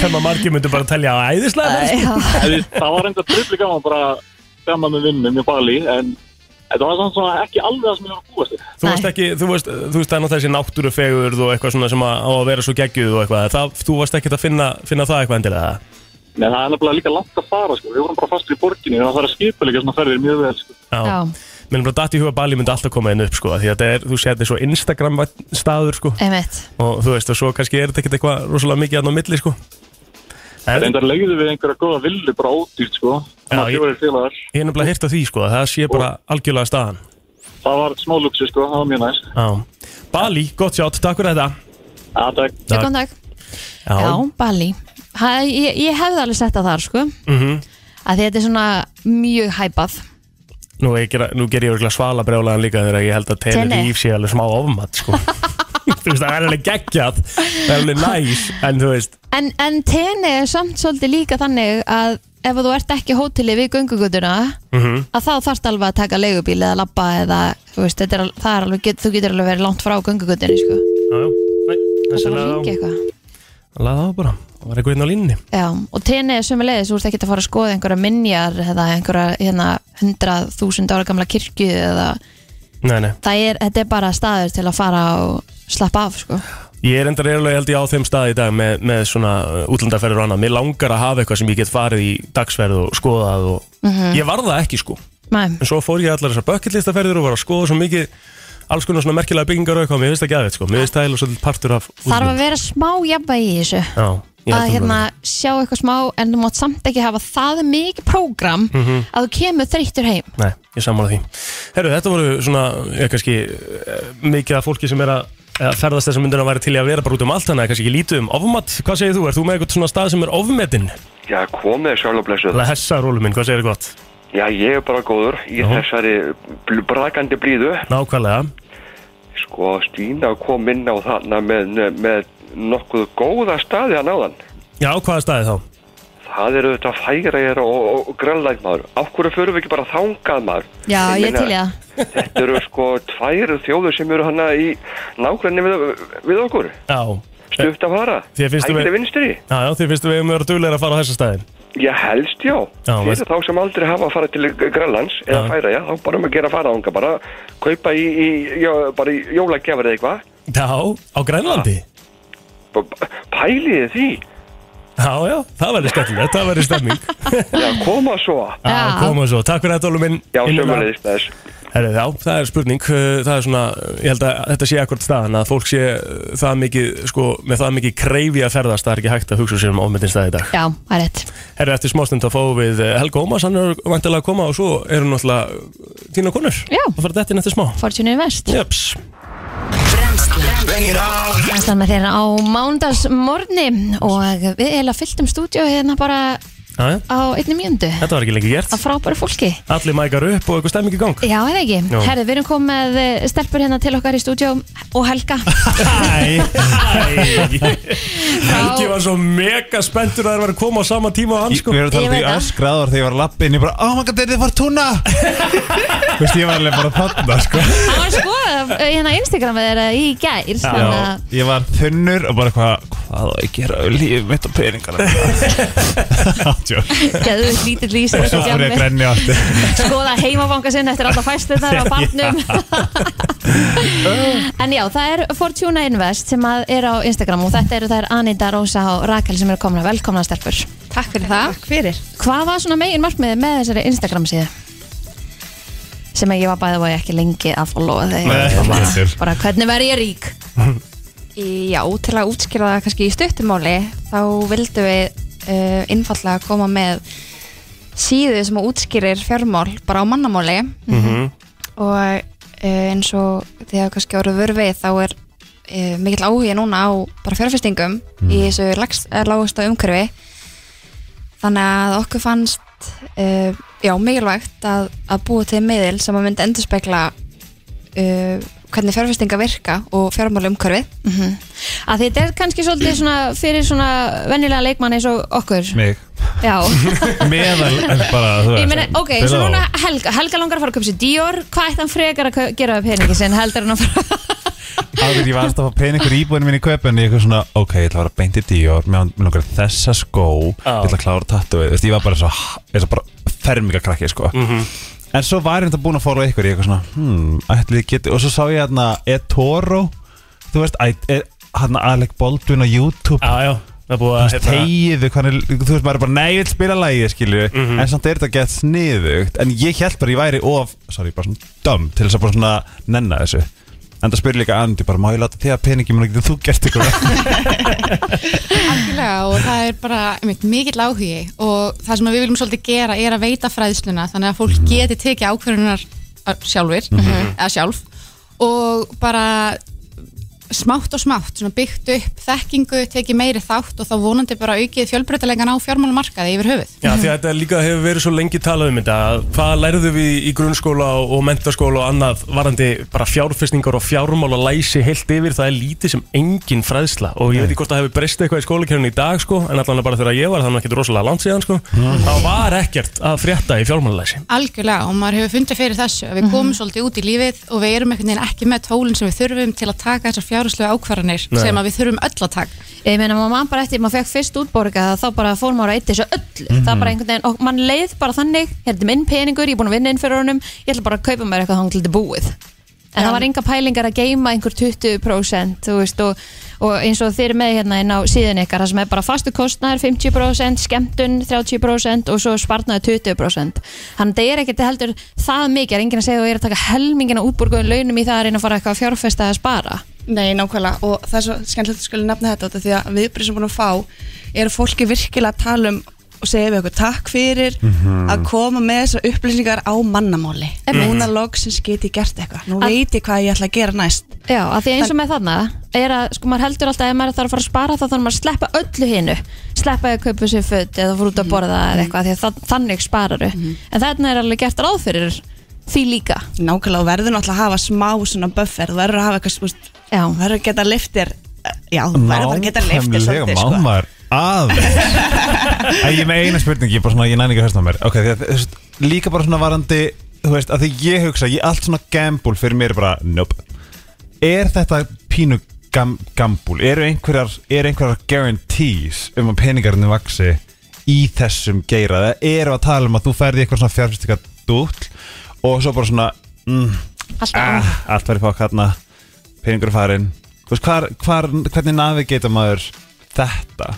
sem að margir myndu bara að telja á æðislega ferð, sko.
Já,
En við- það var enda drulli gaman bara að djamma með vinnum í Bali en þetta var samt svona ekki alveg það sem ég var að búast við
Þú veist ekki, þú veist, þú veist það er náttúrulega þessi náttúrufegurð og eitthvað svona sem að, á að vera svo geggjuð og eitthvað það, Þú varst ekkert að finna, finna það eitthvað endilega
Nei, það er nefnilega líka langt að fara sko. við vorum bara fastur í borginni og það þarf að skipa líka svona ferðir mjög vel sko.
já,
Mér er bara datt í huga að Bali myndi alltaf koma inn upp sko, af því að þetta er, þú sér þetta er svo Instagram staður sko,
einmitt
og þú veist og svo kannski er þetta ekkert eitthvað rosalega mikið aðna á milli sko. En
reyndar leiðu við einhverja góða villu bara ódýrt sko.
Já,
Svona
ég-
fjórir félagar.
ég er nefnilega hirt af því sko, að það sé bara algjörlega staðan
það var smá luxu sko. það var mjög næst
Já. Bali, gott sjátt, takk fyrir þetta
ja, takk.
Takk.
Góðan dag Já, Bali ha, ég, ég hefði alveg sett það þar sko mm
Mhm.
að þetta er svona mjög hæpað
Nú, ég gera, nú ger ég örgulega svala brjólaðan líka þegar ég held að Tenerife sé alveg smá ofmat sko. þú veist, það er alveg geggjað það er alveg næs, en þú veist
en, en tenni er samt svolítið líka þannig að ef þú ert ekki á hóteli við göngugutuna
Mhm.
að þá þarft alveg að taka leigubíl eða labba eða þú veist, þetta er, al- það er alveg, get, þú getur alveg verið langt frá göngugutunni sko
já, já, næ,
það
þessi
er að
laða á,
ringi eitthvað
laða á bara það var eitthvað inn á línni
Já, og tenni er sömulegis, þú ert ekki að fara að skoða einhverja minjar eða einhverja hérna, 100.000 ára gamla kirkju eða
nei, nei.
það er, þetta er bara staður til að fara og slappa af sko
ég er endar erulega held ég á þeim stað í dag með, með svona útlandarferður og annað mér langar að hafa eitthvað sem ég get farið í dagsferð og skoðað og
Mhm.
ég var það ekki sko
Nei.
en svo fór ég í allar þessar bökkillistaferður og var að skoða svo mikið alls konar svona merkilega byggingar og eitthvað mér finnst það geðveikt, sko. Mér finnst það eiginlega svolítið partur af
þarf
útlöndum.
að vera smá jafnvægi í þessu
Já, ég held
að
það
hérna
bara.
sjá eitthvað smá en þú mátt samt ekki hafa það mikið prógram
Mhm.
að þú kemur þreyttur heim
Mhm, Nei, ég sammála því Herru, þetta voru svona, ég kannski eh, mikið af fólki sem er að eh, ferðast þessum myndina væri til í að vera bara út um allt þannig að kannski ekki lítið um ofmat, hvað segir þú? Er þú með eitthvað svona stað sem er ofmetinn?
Já, komið sjálf og blessuð.
Lessa rólu minn, hvað segir gott?
Já, ég er bara góður í þessari bl- brakandi blíðu.
Nákvæmlega,
Sko, Stína kom inn á þarna með, með nokkuð góða staði að náðan.
já, hvaða staði þá?
Það eru þetta fægræðir og, og, og grænlæg maður. Af hverju förum við ekki bara þangað maður?
já ég,
meina,
til ég það
Þetta eru sko tvær þjóður sem eru hana í nákvæmni við, við okkur.
Já,
Stutt að fara.
Þér finnst þú
Hægri
við-
vinstri.
já, já þið finnst við eigum að vera duglegar að fara á þessa staðin
Já, helst já.
Já,
Fyrir
veist-
þá sem aldrei hafa að fara til Grænlands eða
Já.
færa, já, þá bara um að gera að fara ánga bara, kaupa í, í, já, bara í jólagjafir eða eitthvað.
Já, á Grænlandi?
B- b- Pæliði því.
Já, já, það verður skemmtilegt, það verður stemming
Já, koma svo.
Já,
Já.
koma svo, takk fyrir þetta Ólu minn
Já,
Innilega.
sömulegist þess.
Herri, já, það er spurning uh, Það er svona, uh, ég held að þetta sé akkurat staðan að fólk sé uh, það mikið sko, með það mikið kreifi að ferðast það er ekki hægt að hugsa sér um ofmyndin stað í dag
já, það er rétt
Herri, eftir smástund að fáum við uh, Helga Ómas hann er vantilega að koma og svo eru náttúrulega uh, þína konur
Já.
og fara þetta inn eftir smá
Fortune Invest
Jöps
Þannig með þér á mándagsmorni og við erum fyllt um stúdíu hérna bara
Jæja,
á einni mjöndu
Þetta var ekki lengi gert
að frábæru fólki
Allir mækar upp og eitthvað stemming í gang
Já, eða ekki.
Jú.
Herði, við erum komið með eh, stelpur hérna til okkar í stúdíu og Helga.
Æ, æ Helgi var svo mega spenntur að það var að koma á sama tíma á hann
Ég,
sko
við erum að tala
Ég
um því
veit það.
öskraðar þegar ég var að lappa inn Ég bara, oh my god, þetta var túna Vist, ég var alveg bara þarna, sko
Hann var sko hérna Instagramið er í gær. þannig
Já,
að-
ég var þunnur og bara hvað Hvað á ég að gera á lífið mitt og peningana Átjók
Gæðu lítill lýsir
Svo fór ég að grenni aftur
skoða heimabanga sinn eftir alla fæslunar á barnum en já, það er Fortuna Invest sem að er á Instagram og þetta eru þær Anita, Rósa og Rakel sem eru komna velkomna stelpur
Takk fyrir það Takk fyrir
Hvað var svona megin markmiðið með þessari Instagram síðu? sem að ég var bæðið og ég ekki lengi að followa þig
Nei,
Ég var bara,
betur.
bara hvernig verð ég rík
Já, til að útskýra það kannski í stuttumáli þá vildum við uh, einfallega koma með síðu sem útskýrir fjármál bara á mannamáli
Mhm.
og uh, eins og því að kannski orðið vörfið þá er uh, mikill áhugi núna á bara fjárfestingum í þessu lagst, lágust á umhverfi þannig að okkur fannst uh, já, mikilvægt að, að búa til miðil sem að myndi endurspegla uh, hvernig fjárfestinga virka og fjármál umhverfið
Mhm. að þetta er kannski svolítið svona fyrir svona venjulega leikmann eins og okkur
Mig
Já,
meðal en bara, þú
Ég
veist,
meina, ok,
spila
eins og
á-
núna Helga, Helga langar að fara að köpa sér Dior Hvað ætti hann frekar að kau- gera við peningi sinn heldur hann að fara
Áður ég var alltaf að peina ykkur íbúinu minni í köpunni Ég var svona, ok, ég ætla að vera beint í Dior Mér mér langar í þessa skó Ég ætla að klára tattu Þú veist, ég var bara svo Ég var bara ferminga krakki, sko En svo var ég þetta búin að fóra ykkur Ég var svona, hmm, ætli ég geti Og svo sá ég hérna eToro Þú veist, æ- e- hérna Alec Baldwin á YouTube
Já, já, það er búið
Þú
að hérna-
veist, tegiðu, hvernig, þú veist, maður er bara, nei, ég vil spila lægið, skilju
Mhm.
En samt er þetta gett sniðugt En ég held bara, ég væri of, sorry, bara svona dum Til þess að bara svona nenna þessu En það spyrir líka Andi, bara, má ég láta þig að peningi Mér getur þú gert ykkur
Algjörlega og það er bara einmitt, mikill áhugi og það sem við viljum svolítið gera er að veita fræðsluna þannig að fólk
Mhm.
geti tekið ákverðunar sjálfur eða sjálf og bara smátt og smátt svona byggt upp þekkingu, tekið meiri þátt og þá vonandi bara aukið fjölbreytilegan á fjármálamarkaði yfir höfuð.
Já, því að þetta líka hefur verið svo lengi talað um þetta að Hvað lærðu við í grunnskóla og og mentaskóla og annað varandi bara fjárfestingar og fjármál og læsi heilt yfir það er lítið sem engin fræðsla og ég veit ekki hvort það hefur breyst eitthvað í skólakerfinu í dag sko, en allan bara þegar ég var þannig ekki rosalega langt síðan sko, það var ekkert að frétta í fjármálalæsi
Algjörlega og maður hefur fundið fyrir þessu
Mhm.
að við komum svolítið út í lífið og við erum einhvern veginn ekki með tólinn sem við þurfum til að taka þessar fjárhúslega ákvarðanir
Nei.
sem að við þurfum um öll að taka.
Ég meina, maður man bara eftir, maður fekk fyrst útborgað þá bara fór maður að eitt þessu öllu það bara einhvern veginn, og mann leið bara þannig hérna er minn peningur, ég er búin að vinna inn fyrir honum ég ætla bara að kaupa mér eitthvað þangliti búið en það var enga pælingar að geima einhver 20% þú veist, og, og eins og þeir með hérna inn á síðan ykkar, það sem er bara fastu kostnæður 50%, skemmtun 30% og svo spartnaður 20% þannig það er ekkert heldur það mikið, er enginn að segja og ég er að taka helmingina útborguðin launum í það að reyna að fara eitthvað að fjárfesta að spara
Nei, nákvæmlega og það er svo skemmtilegt að skilja nefna þetta út af því að viðbrið sem búin að fá er að fólki virkilega að tala um og segja við okkur takk fyrir
Mhm.
Mm.
að koma með þessar upplýsingar á mannamáli
Einmitt.
núna loksins get ég gert eitthvað nú
Að-
veit ég hvað ég ætla að gera næst
Já, af því eins og með þarna er að sko maður heldur alltaf að ef maður þarf að fara að spara þá þarf maður að sleppa öllu hinnu sleppa að kaupa sér föt eða fór
Mhm.
út að borða eða eitthvað því að það, þannig spararu en þarna er alveg gert ráð fyrir því líka
Nákvæmlega og verður náttúrulega að hafa smá svona buffer, þú verður að hafa eitthvað spúst, verður að geta liftir já, þú verður bara að geta liftir svolítið sko.
Mámar, að En ég er með eina spurning, ég er bara svona, ég næn ekki að höfst á mér Ok, því að, þú veist, líka bara svona varandi Þú veist, að því ég hugsa, ég allt svona gamble Fyrir mér er bara, nope Er þetta pínu gam, gamble? Eru einhverjar, er einhverjar guarantees Um að peningarnir vaksi Í þessum geira Það eru að tala um að þú ferði eitthvað svona fjárfyrstika dúll Og svo bara svona mm,
Allt
ah, allt var í fokk hérna peningur farinn Þú veist, hvar, hvar, hvernig navigata maður þetta?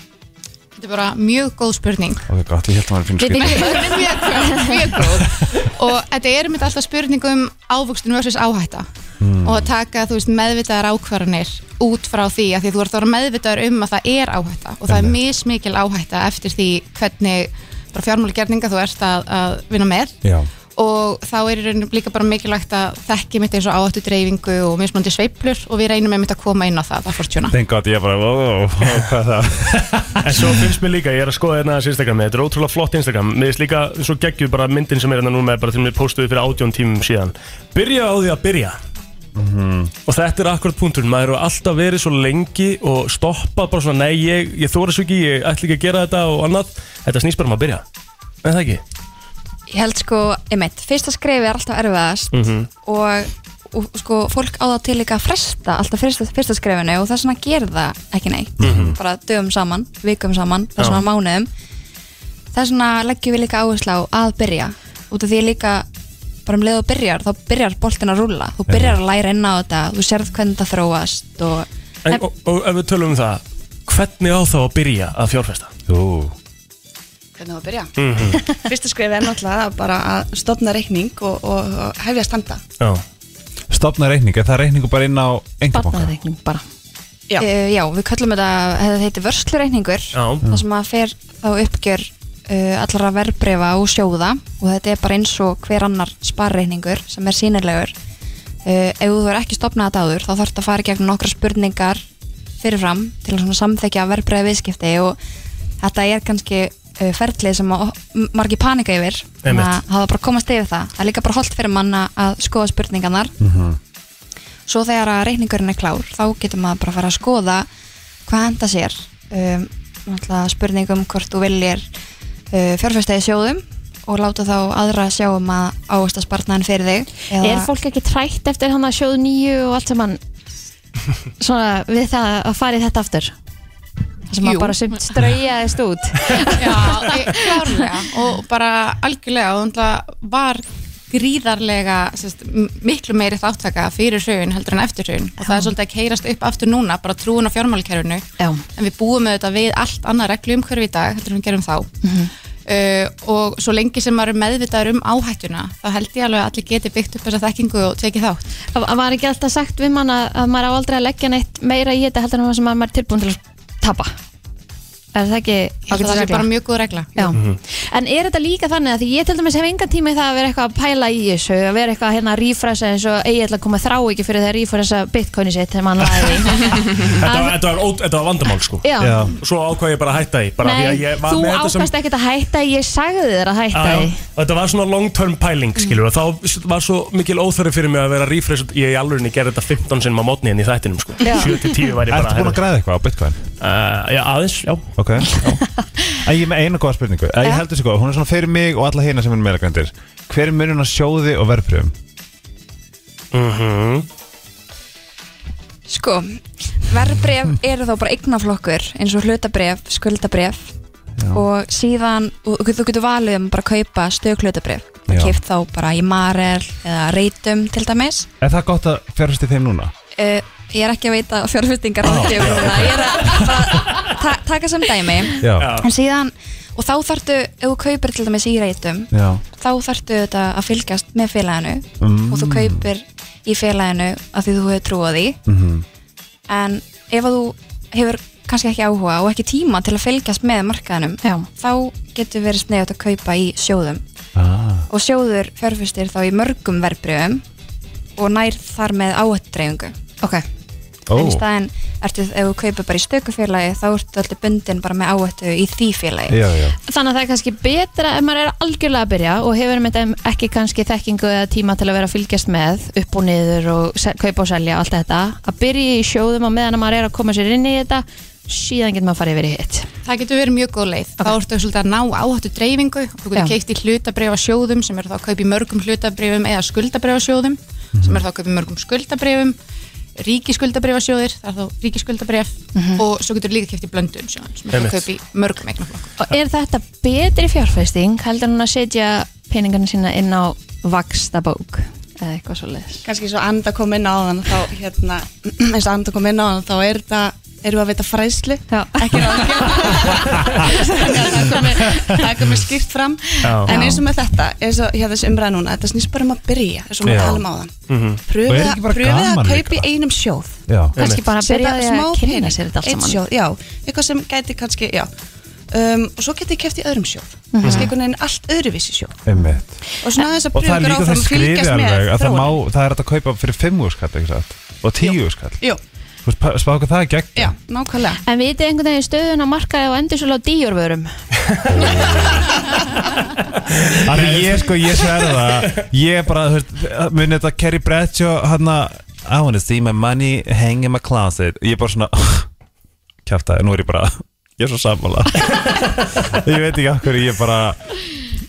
Þetta er bara mjög góð spurning.
Ok, gott, ég held að maður finnir
Nei,
skrið
hún er mjög góð, mjög góð. Og þetta er mitt alltaf spurning um ávöxtun versus áhætta
Mm.
Hmm.
og að taka þú veist, meðvitaðar ákvarðanir út frá því að því þú ert að vera meðvitaðar um að það er áhætta og það er mismikil áhætta eftir því hvernig bara fjármálagerninga þú ert að, að vinna með
Já,
og þá er í rauninu líka bara mikilvægt að þekki mitt eins og áhættu dreifingu og mismunandi sveiflur og við reynum einmitt að koma inn á það að fortjuna.
þenn gott, ég bara, ó, ó, hvað er það?
En svo finnst mér líka, ég er að skoða hérna þessi Instagram Þetta er ótrúlega flott Instagram Mér finnst líka svo geggjuð bara myndin sem er hérna núna bara til mér postuði fyrir átjón tímum síðan Byrja á því að byrja
Mhm.
Og þetta er akkurat punktur Maður hefur alltaf verið svo lengi og stoppað bara svona Nei, ég, ég þóra svo ekki, ég ætla ekki að gera þetta og annað Þetta snýst bara um að byrja En það ekki
ég held sko, einmitt, fyrsta skrefi er alltaf erfiðast
Mm.
Mhm.
og, og sko, fólk á það til líka að fresta alltaf fyrsta, fyrsta skrefinu og þess vegna gerir það ekki neitt,
Mm.
Mhm.
bara dögum saman vikum saman, þess
Já.
vegna mánuðum þess vegna leggjum við líka áherslu á að byrja, út af því líka bara um leið og byrjar, þá byrjar boltin að rúlla, þú byrjar að læra inn á þetta þú sérð hvernig það þróast og
en, og, og ef við tölum um það Hvernig á þá að byrja að fjárfesta?
Jú
hvernig á að byrja
Mhm.
fyrsta skrifið er náttúrulega bara að stofna reikning og, og, og hefja að standa
Já
Stopna reikning, er það reikningu bara inn á engabanka?
Barnareikning bara
Já.
Eh, já, við kallum þetta, þetta heitir vörslureikningur
Já.
það sem að fer þá uppgjör uh, allra verbreyfa og sjóða og þetta er bara eins og hver annar sparreikningur sem er sínilegur uh, ef þú er ekki stopnað þetta áður þá þarf þetta að fara í gegnum nokkra spurningar fyrirfram til að svona samþekja verbreyfa viðskipti og þetta er kannski uh, ferlið sem að m- margir panika yfir þannig
Einmitt.
að hafa bara komast yfir það það er líka bara holdt fyrir manna að skoða spurningarnar
Mhm.
svo þegar að reikningurinn er klár þá getur maður bara að fara að skoða hvað henda sér um, náttúrulega spurning um hvort þú viljir uh, fjárfesta í sjóðum og láta þá aðra sjá um að áasta spartnaðin fyrir þig
Er fólk ekki trætt eftir hann að sjóðu nýju og allt sem hann svona við það að fara í þetta aftur það sem
Jú.
hann bara sumt straujaðist út
Já, klárlega og bara algjörlega og það var gríðarlega sérst, m- miklu meiri þáttaka fyrir hraun heldur en eftir hraun og það er svolítið að keirast upp aftur núna bara trúin á fjármálakerfinu
Já.
en við búum auðvitað við allt annað reglu í dag heldur en við gerum þá uh, og svo lengi sem maður er meðvitaður um áhættuna þá held ég alveg að allir geti byggt upp þessa þekkingu og tekið þátt
Það var ekki alltaf sagt við mann að, að maður á aldrei að leggja neitt meira í þetta heldur en það sem að maður er tilbúin til að tapa Er það ekki
Ég held að það sé
ágætis regla?
bara mjög góð regla
Já.
Mhm.
En er þetta líka þannig að því ég til dæmis hef engan tíma í það að vera eitthvað að pæla í þessu að vera eitthvað hérna að rífrasa eins og eigi ætla að koma þrá ekki fyrir það að rífrasa bitcoini sitt þegar maður lagði
Þetta var, þetta var, ó, þetta var vandamál sko
Já. Já.
Svo ákvað ég bara að hætta því bara því að
Nei,
ég var
þú
með þetta
ákast
sem-
ekkert að hætta ég sagði þér að
Já,
hætta því Mm.
já. Og Þetta var svona long term pæling skilur og þá var svo mikil óþörri fyrir mig að vera refresh ég í alvörinni gerði þetta 15 sinnum á mótni en í þættinum sko
Já.
7-10 væri bara
Ertu búin að græða eitthvað á Bitcoin?
Uh, já, aðeins, já
Ok Æ, Ég er með eina góða spurningu Æ, Ég
Já.
heldur þessi góð, hún er svona fyrir mig og alla hérna sem er meðlagrændir Hver er munun á sjóði og verðpröfum?
Mm
Mhm.
-hmm.
Sko, verðbref eru þá bara eignaflokkur eins og hlutabref, skuldabref og síðan, og þú þú getur valið um bara að kaupa stöðklutabref
Já.
það keift þá bara í Marel eða Reitum til dæmis
Er það gott að fjárfæsti þeim núna?
uh, Ég er ekki að veita fjárfestingar ráðgjöf núna, ég er að bara ta taka sem dæmi
Já. Já.
en síðan, og þá þarftu ef þú kaupir til dæmis í Reitum
Já
þá þarftu þetta að fylgjast með félaginu
Mm.
og þú kaupir í félaginu að því þú hefur trú á því
Mhm.
en ef að þú hefur kannski ekki áhuga og ekki tíma til að fylgjast með markaðinum
Já.
þá getur verið snegjast að kaupa í sjóðum
ah.
og sjóður fjárfustir þá í mörgum verbrifum og nær þar með áhættdreifingu
okay.
Ó.
en í staðin ertu, ef þú kaupir bara í stökufélagi þá ertu alltaf bundin bara með áhættu í því félagi
Já, já
Þannig að það er kannski betra ef maður er algjörlega að byrja og hefur með þeim ekki kannski þekkingu eða tíma til að vera að fylgjast með upp og niður og se- kaupa og selja allt þetta að byrja í sjóðum og meðan að maður er að koma sér inn í þetta síðan getur maður að fara yfir í hitt
Það getur verið mjög góð leið. Þá ertu svolítið að ná áhættu dreifingu og þú
Já.
getur keitt í hlutabrifa sjóðum sem eru þá að kaupa í mörgum hlutabrifum eða skuldabrifa sjóðum
Mhm.
sem eru þá að kaupa í mörgum skuldabrifum ríkiskuldabrifa sjóðir, það er þá ríkiskuldabrif og svo getur líka keitt í blöndum sjóðum sem eru þá að
Mhm. Einmitt.
kaupa í mörgum eignaflokk.
Og er þetta betri fjárfæsting heldur en að setja peningarna sína inn á vakstabók eða eitthvað svo leiðis
kannski svo anda kom inn á þann þá hérna, eins og anda kom inn á þann þá er þetta, erum við að veita fræðslu
Já.
ekki ráðgjöf það komi, það komi skýrt fram
Já.
en eins og með þetta, eins og hér þessi umræða núna þetta snýst bara um að byrja, eins og við
Já.
talum á þann
Mhm. Og er
pröfið
ekki bara
að- pröfið
gaman
að
líka
kaupa í einum sjóð
Já.
Kannski bara að byrja á því að
smá
kynna
pening,
sér þetta allt
einn
saman.
sjóð, já, eitthvað sem gæti kannski, já um, og svo geti ég keft í öðrum sjóð
Mhm.
kannski einhvern veginn allt öðruvísi sjóð
Einmitt.
og svona aðeins að
Og það
pröfa
er líka
áfram
þess
að
skriði
fylgjast
alveg
með
að það,
þróun
má, það er hægt að kaupa fyrir 5 úrskall og 10 úrskall
Jú.
Þú veist, pa- spá hvað það er gegn
Já, nákvæmlega
En vitið þið einhvern veginn stöðun á markaði og endur svolítið á díjórvörum
Af því ég sko, ég sverða það Ég bara, þú veist, muni þetta Carrie Bradshaw hann að I wanna see my money hang in my closet Ég er bara svona Kjafta, nú er ég bara Ég er svo sammála Ég veit ekki af hverju, ég bara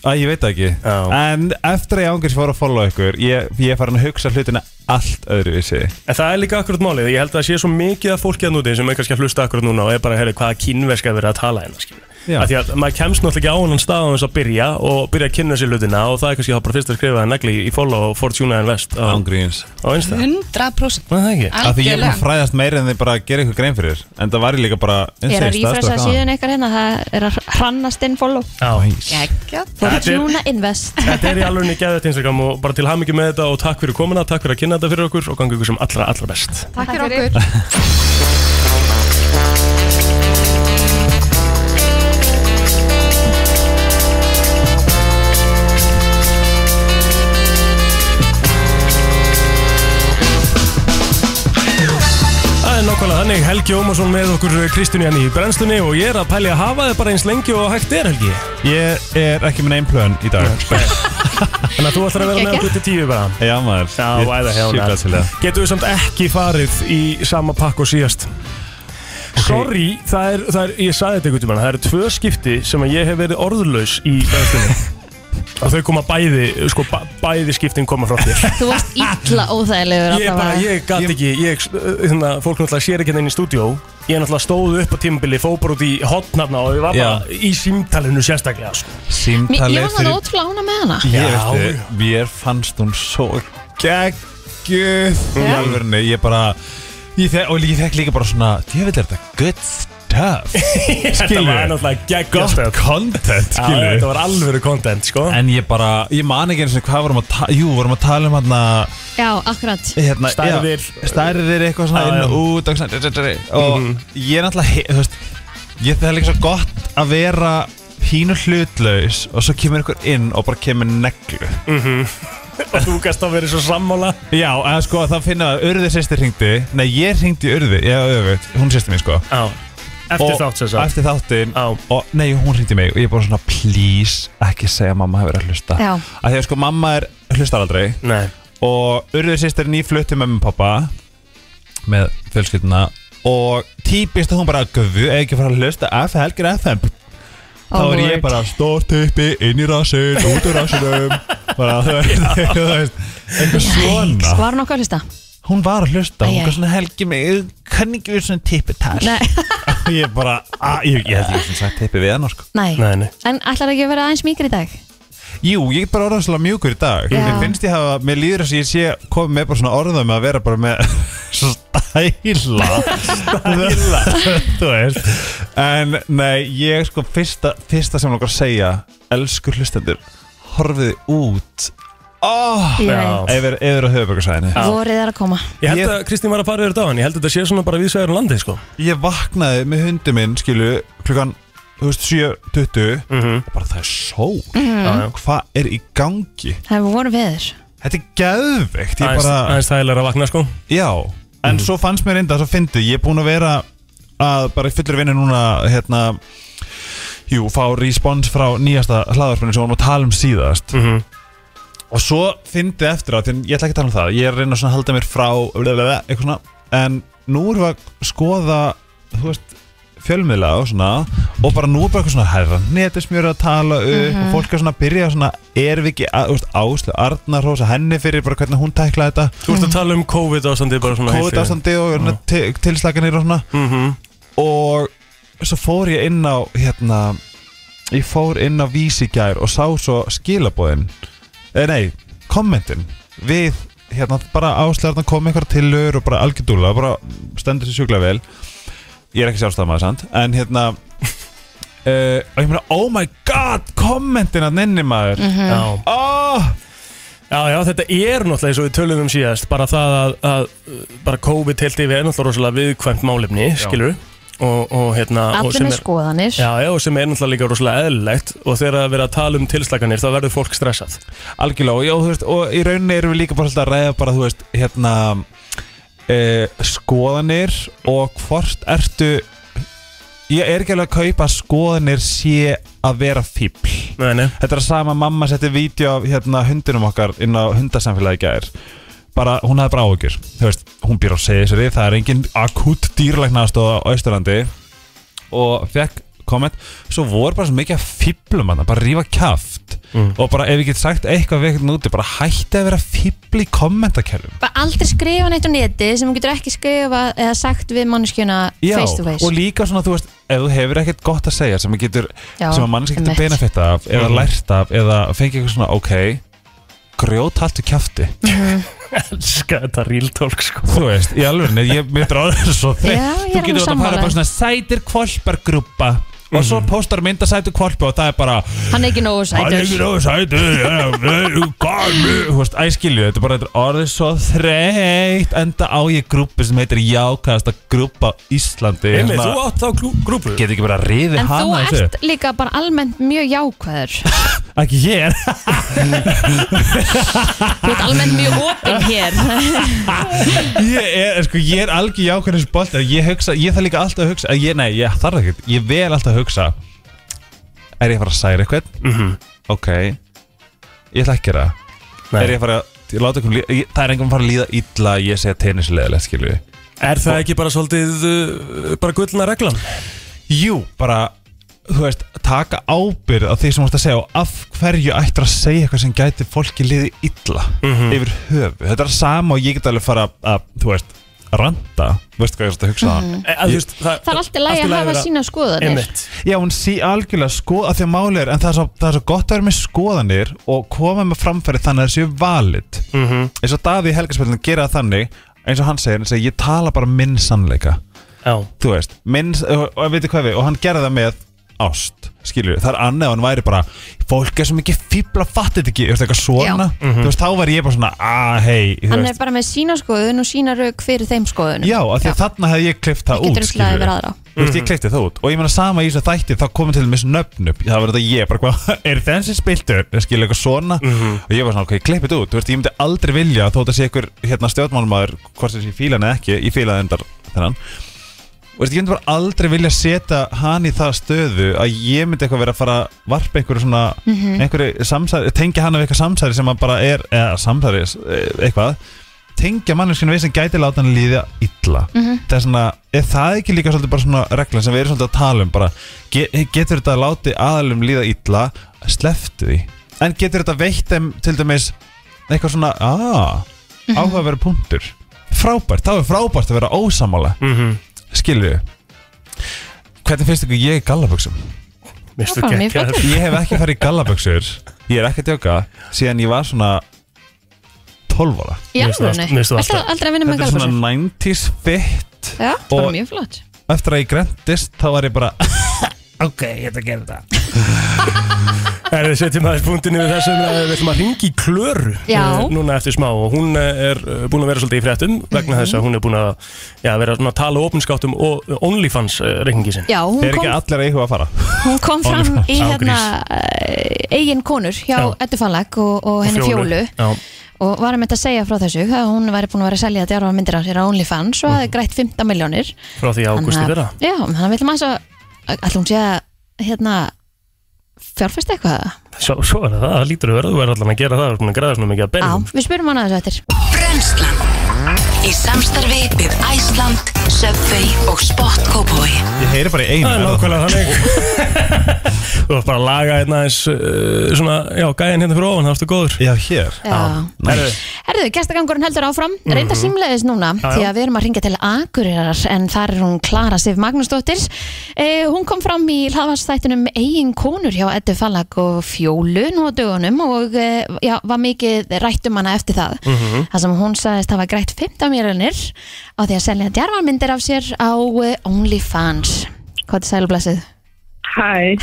Æ, ég veit það ekki En eftir að ég ángurs fór að follow ykkur Ég, ég er farin að hugsa hlutina allt öðruvísi
En það er líka akkurat málið, ég held að það sé svo mikið af fólki að núti sem er kannski að hlusta akkurat núna og er bara að heyra hvaða kínverska er verið að tala hérna skilur.
Já.
Af Því að maður kemst náttúrulega ekki á hann stað á þess að byrja og byrja að kynna sér hlutina og það er kannski þá bara fyrst að skrifa það negli í follow og Fortuna Invest á,
Ángríns
Á einsta
100%
Það er ekki
Af því ég er búin að fræðast meira en þið bara að gera ykkur grein fyrir En það var ég líka bara
Er að
insane
rífrasa
starstruck á hann.
síðan eitthvað hérna það er að hrannast inn follow
Nice.
Fortuna Invest
Þetta er í alveg niður geðvægt Instagram og bara til hamingi með þetta og takk fyrir komuna, takk fyrir að kynna þetta fyrir okkur og gangi ykkur sem allra, allra best.
Takk fyrir okkur.
Það er nákvæmlega þannig, Helgi Ómarsson með okkur Kristján Janni í brennslunni og ég er að pæli að hafa þið bara eins lengi og hægt er Helgi
Ég er ekki með neinn plön í dag
Þannig að þú ætlar að vera með okkur til tíu bara
Já maður
Já,
Ég er
væða hjá
sjúklega til í það.
Getur við samt ekki farið í sama pakk og síðast sorry, það er, það er, ég saði þetta einhvern veginn Það eru tvö skipti sem að ég hef verið orðlaus í bæðstunni Og þau koma bæði, sko, bæ, bæði skiptin koma frá þér
Þú varst illa óþægilegur
Ég
allavega.
bara, ég gat ekki, ég, þannig að fólk náttúrulega sér ekki hérna inn í stúdíó Ég náttúrulega stóð upp á tímabili, fóð bara út í hotnarna og ég var bara í símtalinu sérstaklega sko.
Mér, ég
Símtalið
var náttúrulega ótrúlega ána með hana
Ég veistu, mér fannst hún svo geggjuð Í
Já.
alvörinu, ég bara ég þek, Og ég þekk líka bara svona Djöfitt er þetta good stuff
Þetta
Skilur.
var náttúrulega geggjast
Gott content,
Já,
skilur
þetta var alvöru content, sko
En ég bara, ég man ekki eins og hvað vorum að tala Jú, vorum að tala um hérna
Já, akkurat
hérna,
Stærðir.
já, Stærðir eitthvað svona
Já,
inn
já.
og út Og, svona, og
Mhm.
ég er náttúrulega he- Þú veist, ég það er líka svo gott Að vera pínu hlutlaus Og svo kemur ykkur inn og bara kemur neglu
Mhm. Og þú gæst að vera svo sammála
Já, að sko það finna að Urði sýstir hringdi Nei, ég hringdi í Urði, já, öfugt, hún sýstir mín sko
Já, eftir
og,
þátt sem sagt.
Eftir þáttin og nei, hún hringdi í mig og ég er bara svona Please, ekki segja að mamma hefur verið að hlusta
Já.
Af því að sko mamma er hlustar aldrei
Nei
Og Urði sýstir nýflutti með mér pappa Með fjölskylduna Og típist að hún bara Guðu, ef ekki fara að hlusta F, helgir FM Þá
Oh
er ég
lord.
bara stórt uppi, inn í rassinn, út úr rassinum Bara, þú veist, þú veist, eitthvað svona
Var hún okkar að hlusta?
Hún var að hlusta,
Æ,
hún
æ.
var svona helgi mig ég kann ekki við svona tippetal
Nei.
Ég bara, að, ég, ég held ég sem sagt tippi við hennar sko
Nei.
Nei, nei.
En ætlar ekki að vera aðeins mýkri í dag?
Jú, ég er bara orðan svolítið mjúkur í dag
Já.
Mér finnst ég hafa, mér líður þess að ég sé komið með bara svona orðum að vera bara með stæla Stæla Þú veist En nei, ég sko fyrsta, fyrsta sem langar að segja Elsku hlustendur, horfið út Oh,
Ég
veit.
ef er, ef er á höfuborgarsæðinu
Vorið er að koma
Ég held að Kristín var að fara yfir þetta á hann Ég held að þetta sé svona bara viðsvegar um landið, sko
ég vaknaði með hundi minn skilu klukkan þú veist, 7.20
Mhm.
og bara það er sól
Mhm. Já, já.
hvað er í gangi
Það er voru veður
þetta er geðveikt ég
Aðeins-
bara
aðeins þægilega að vakna sko
já en svo fannst mér reynda svo fyndi ég er búin að vera að bara í fullur vinnu núna hérna jú fá respons frá nýjasta hlaðarpunni sem við vorum að tala um síðast
Mhm.
og svo fyndi eftir á því að ég ætla ekki að tala um það ég er að reyna svona að halda mér frá blablabla, eitthvað svona en nú erum við að skoða þú veist fjölmiðla og svona og bara nú er bara eitthvað svona herra netismjöru að tala upp
Mhm.
og fólk er svona að byrja svona er við ekki að, þú veist, Áslu Arnar hósa henni fyrir bara hvernig hún tæklaði þetta
Þú ert að tala um COVID ástandi bara svona heilt
COVID
yfir.
ástandi og mm. tilslaganir og svona
Mhm,
og svo fór ég inn á hérna ég fór inn á vísigjær og sá svo skilabóðin eh, nei, kommentin við hérna bara áslæðarna kom einhverja tilur og bara algjördúla bara stendur sér sjúklega vel ég er ekki sjálfstæðamaður samt en hérna Uh, og ég meina, oh my god, kommentin að nenni maður
Mhm. Já.
oh!
Já, já, þetta er náttúrulega eins og við tölum um síðast bara það að, að uh, bara COVID heilt yfir er náttúrulega rosalega viðkvæmt málefni, skilur og, og hérna og
Allir
sem
með
er-
skoðanir
Já, já, og sem er náttúrulega líka rosalega eðlilegt og þegar að vera að tala um tilslaganir þá verður fólk stressað
Algjörlega, og, já, þú veist, og í rauninni erum við líka bara svolítið að ræða bara, þú veist, hérna e, skoðanir og hvort ertu ég er ekki alveg að kaupa að skoðanir sé að vera fíbl
nei, nei.
Þetta er að sama mamma setti vídeo af hérna, hundinum okkar inn á hundasamfélagi gæðir bara, hún hafði bara áhugjur þú veist, hún býr á segisri, það er engin akut dýrlæknast á Ísturlandi og fekk komment svo voru bara svo mikið að fýblum hann bara rífa kjaft
Mm.
og bara ef ég get sagt eitthvað við eitthvað úti bara hætti að vera fýbl í kommentakerfum
Bara aldrei skrifa neitt á neti sem þú getur ekki skrifa eða sagt við manneskjuna face to face
og líka svona þú veist ef þú hefur ekkert gott að segja sem, að getur,
Já,
sem að mannski getur
einmitt.
beinafitt af eða
Mhm.
lært af eða fengið eitthvað svona ok grjót haltu kjafti
Elskar þetta real talk sko
Þú veist, í alveg, ég mitt ráður svo
Já,
þreytt
ég er
Þú
alveg
getur þetta bara
sammála.
bara svona sætir kvolpargrúpa Og svo
Mhm.
póstar mynda sætir kvolpa og það er bara
Hann er ekki nógu sætur
Það er ekki nógu sætur já, nei, þú gaf mér- Þú veist, æskilju, þetta er bara þetta er orðið svo þreytt Enda á ég grúpi sem heitir jákast að grúpa Íslandi
Einmitt,
Svona-
þú átt þá grú- grúpu
Get ekki bara riðið
En þú
hana í þessu?
ert líka bara almennt mjög jákvæður
Ekki ég
Þú ert almennt mjög opinn hér
ég er, sko, ég er algjör jákvæðin þessu bolti að ég hugsa, ég þarf líka alltaf að hugsa að ég, nei, ég þarf ekki, ég vel alltaf að hugsa er ég að fara að særa eitthvað
Mhm.
ok ég ætla ekki að gera það
Nei.
er ég að fara að ég láta einhvern líða, ég, það er einhvern að fara að líða illa að ég segja tennisleðilegt, skilju
Er það ekki bara svolítið uh, bara gullna reglan?
Jú, bara þú veist, taka ábyrð á því sem þú ert að segja og af hverju ættir að segja eitthvað sem gæti fólki liði illa
Mhm.
yfir höfu, þetta er sama og ég get alveg fara að, þú veist, randa þú veist hvað ég er að hugsa
Mhm.
E, að, þú veist, það,
Það er alltaf lægi að hafa sína skoðanir
Já, hún sé algjörlega skoð af því að máli er en það er, svo, það er svo gott að vera með skoðanir og koma með framfæri þannig að það séu valid
Mhm.
eins og Daði í helgarspillinu gera það þannig eins og hann segir, hann segir, ég tala bara minn sannleika
Já.
þú veist, minn, og, og veitir hvað við og hann gerði það með ást skilur, það er annað að hann væri bara fólk er svo mikið fíbla, fattir þetta ekki þú veist, eitthvað svona,
Já. Mhm.
þú veist, þá var ég bara svona að hei, þú
Hann
veist
er bara með sína skoðun og sína rauk fyrir þeim skoðunum
Já, af því að þarna hefði ég klift það
Ég
út
get ruglað
skilurðu.
yfir aðra.
Þú veist, ég klifti það út Og ég meina sama í þessu þætti, þá komið til þessu nöfn upp Það var þetta ég, bara hvað, er þessi spiltur? Það skilur eitthvað svona Og ég var svona, ok, ég klippi þetta út Þú veist, ég myndi aldrei vilja þó þetta sé ykkur hérna, stjórnmálmaður Hvort þessi fílan eða ekki, ég fílaði endar þennan Þú veist, ég myndi bara aldrei vilja setja hann í það stöðu að ég myndi eitthvað vera að fara að varpa einhverju svona,
Mhm.
einhverju samsæri, tengja hann af eitthvað samsæri sem að bara er, eða samsæri, eh, eitthvað, tengja manneskinu við sem gæti láta hann líða illa
Mhm.
það er svona, er það ekki líka svolítið bara svona regla sem við erum svolítið að tala um bara, ge getur þetta að láti aðalum líða illa, sleftu því en getur þetta veitt þeim til dæmis eitthvað svona, aaa
Mhm.
áhugaveru punktur frábært, þá er frábært að vera ósamála mm -hmm. skilju hvernig finnst ykkur ég í gallaböksum?
Veistu, Það er bara mjög geggjaður. flottur.
ég hef ekki farið í gallaböksur ég er ekki að djóka síðan ég var svona 12 ára
Í Mér finnst það allt- alvöru? mér finnst það Ertu alltaf- aldrei að vinna með
Þetta er svona
gallabuxur?
90s fit
Já, bara
Og-
mjög flott
Eftir að ég grendist þá var ég bara Ok, ég ætla að gera þetta
Er þið setjum aðeins punktin yfir þessum að við ætlum að ringi klöru
Já.
eh, núna eftir smá og hún eh, er búin að vera svolítið í fréttum vegna þess
Mhm.
að hún er búin að já, vera svona að tala opinskátt um o- OnlyFans eh, reikningi sinn
Já, hún Er ekki kom-
allir að íhuga að fara?
Hún kom fram
Ónefnt.
í
Án
hérna eh, eigin konur hjá Eddu Fallag og, og henni Fjólu
Já,
og varum þetta að segja frá þessu að hún væri búin að vera að selja djárfa myndir á sér á OnlyFans og hafði grætt 15 miljónir
frá því ágúst í fyrra
Já, þannig að við ætlum aðeins að allir hún sé að hérna fjárfæst eitthvað
Svo, svo er það, það lítur að vera, þú er allan að gera það, þú er búin að græða svona mikið að
Já,
bennum
við spurum hana þessu eftir
Brenslan Í samstarfi við Æsland, Subway og Spot Cowboy
Ég heyri bara í einu
Það er nákvæmlega þannig Þú varst bara að laga hérna eins uh, svona, já, gæðin hérna fyrir ofan, það varstu góður
Já, hér
Já. Herðu, gestagangurinn heldur áfram
Mhm.
reynda símleiðis núna
Já, já.
því að við erum að ringja til Akureyrar en þar er hún Klara Sif Magnúsdóttir eh, hún kom fram í hlaðvarsþættunum eigin konur hjá Eddu Fallag og Fjólu nú á dögunum og eh, já, var mikið rætt um hana eftir það
Mhm.
þar sem hún sagðist hafa grætt 15 mjörunir á því að selja djarfarmyndir af sér á eh, OnlyFans hvað er sælublessið?
Hæ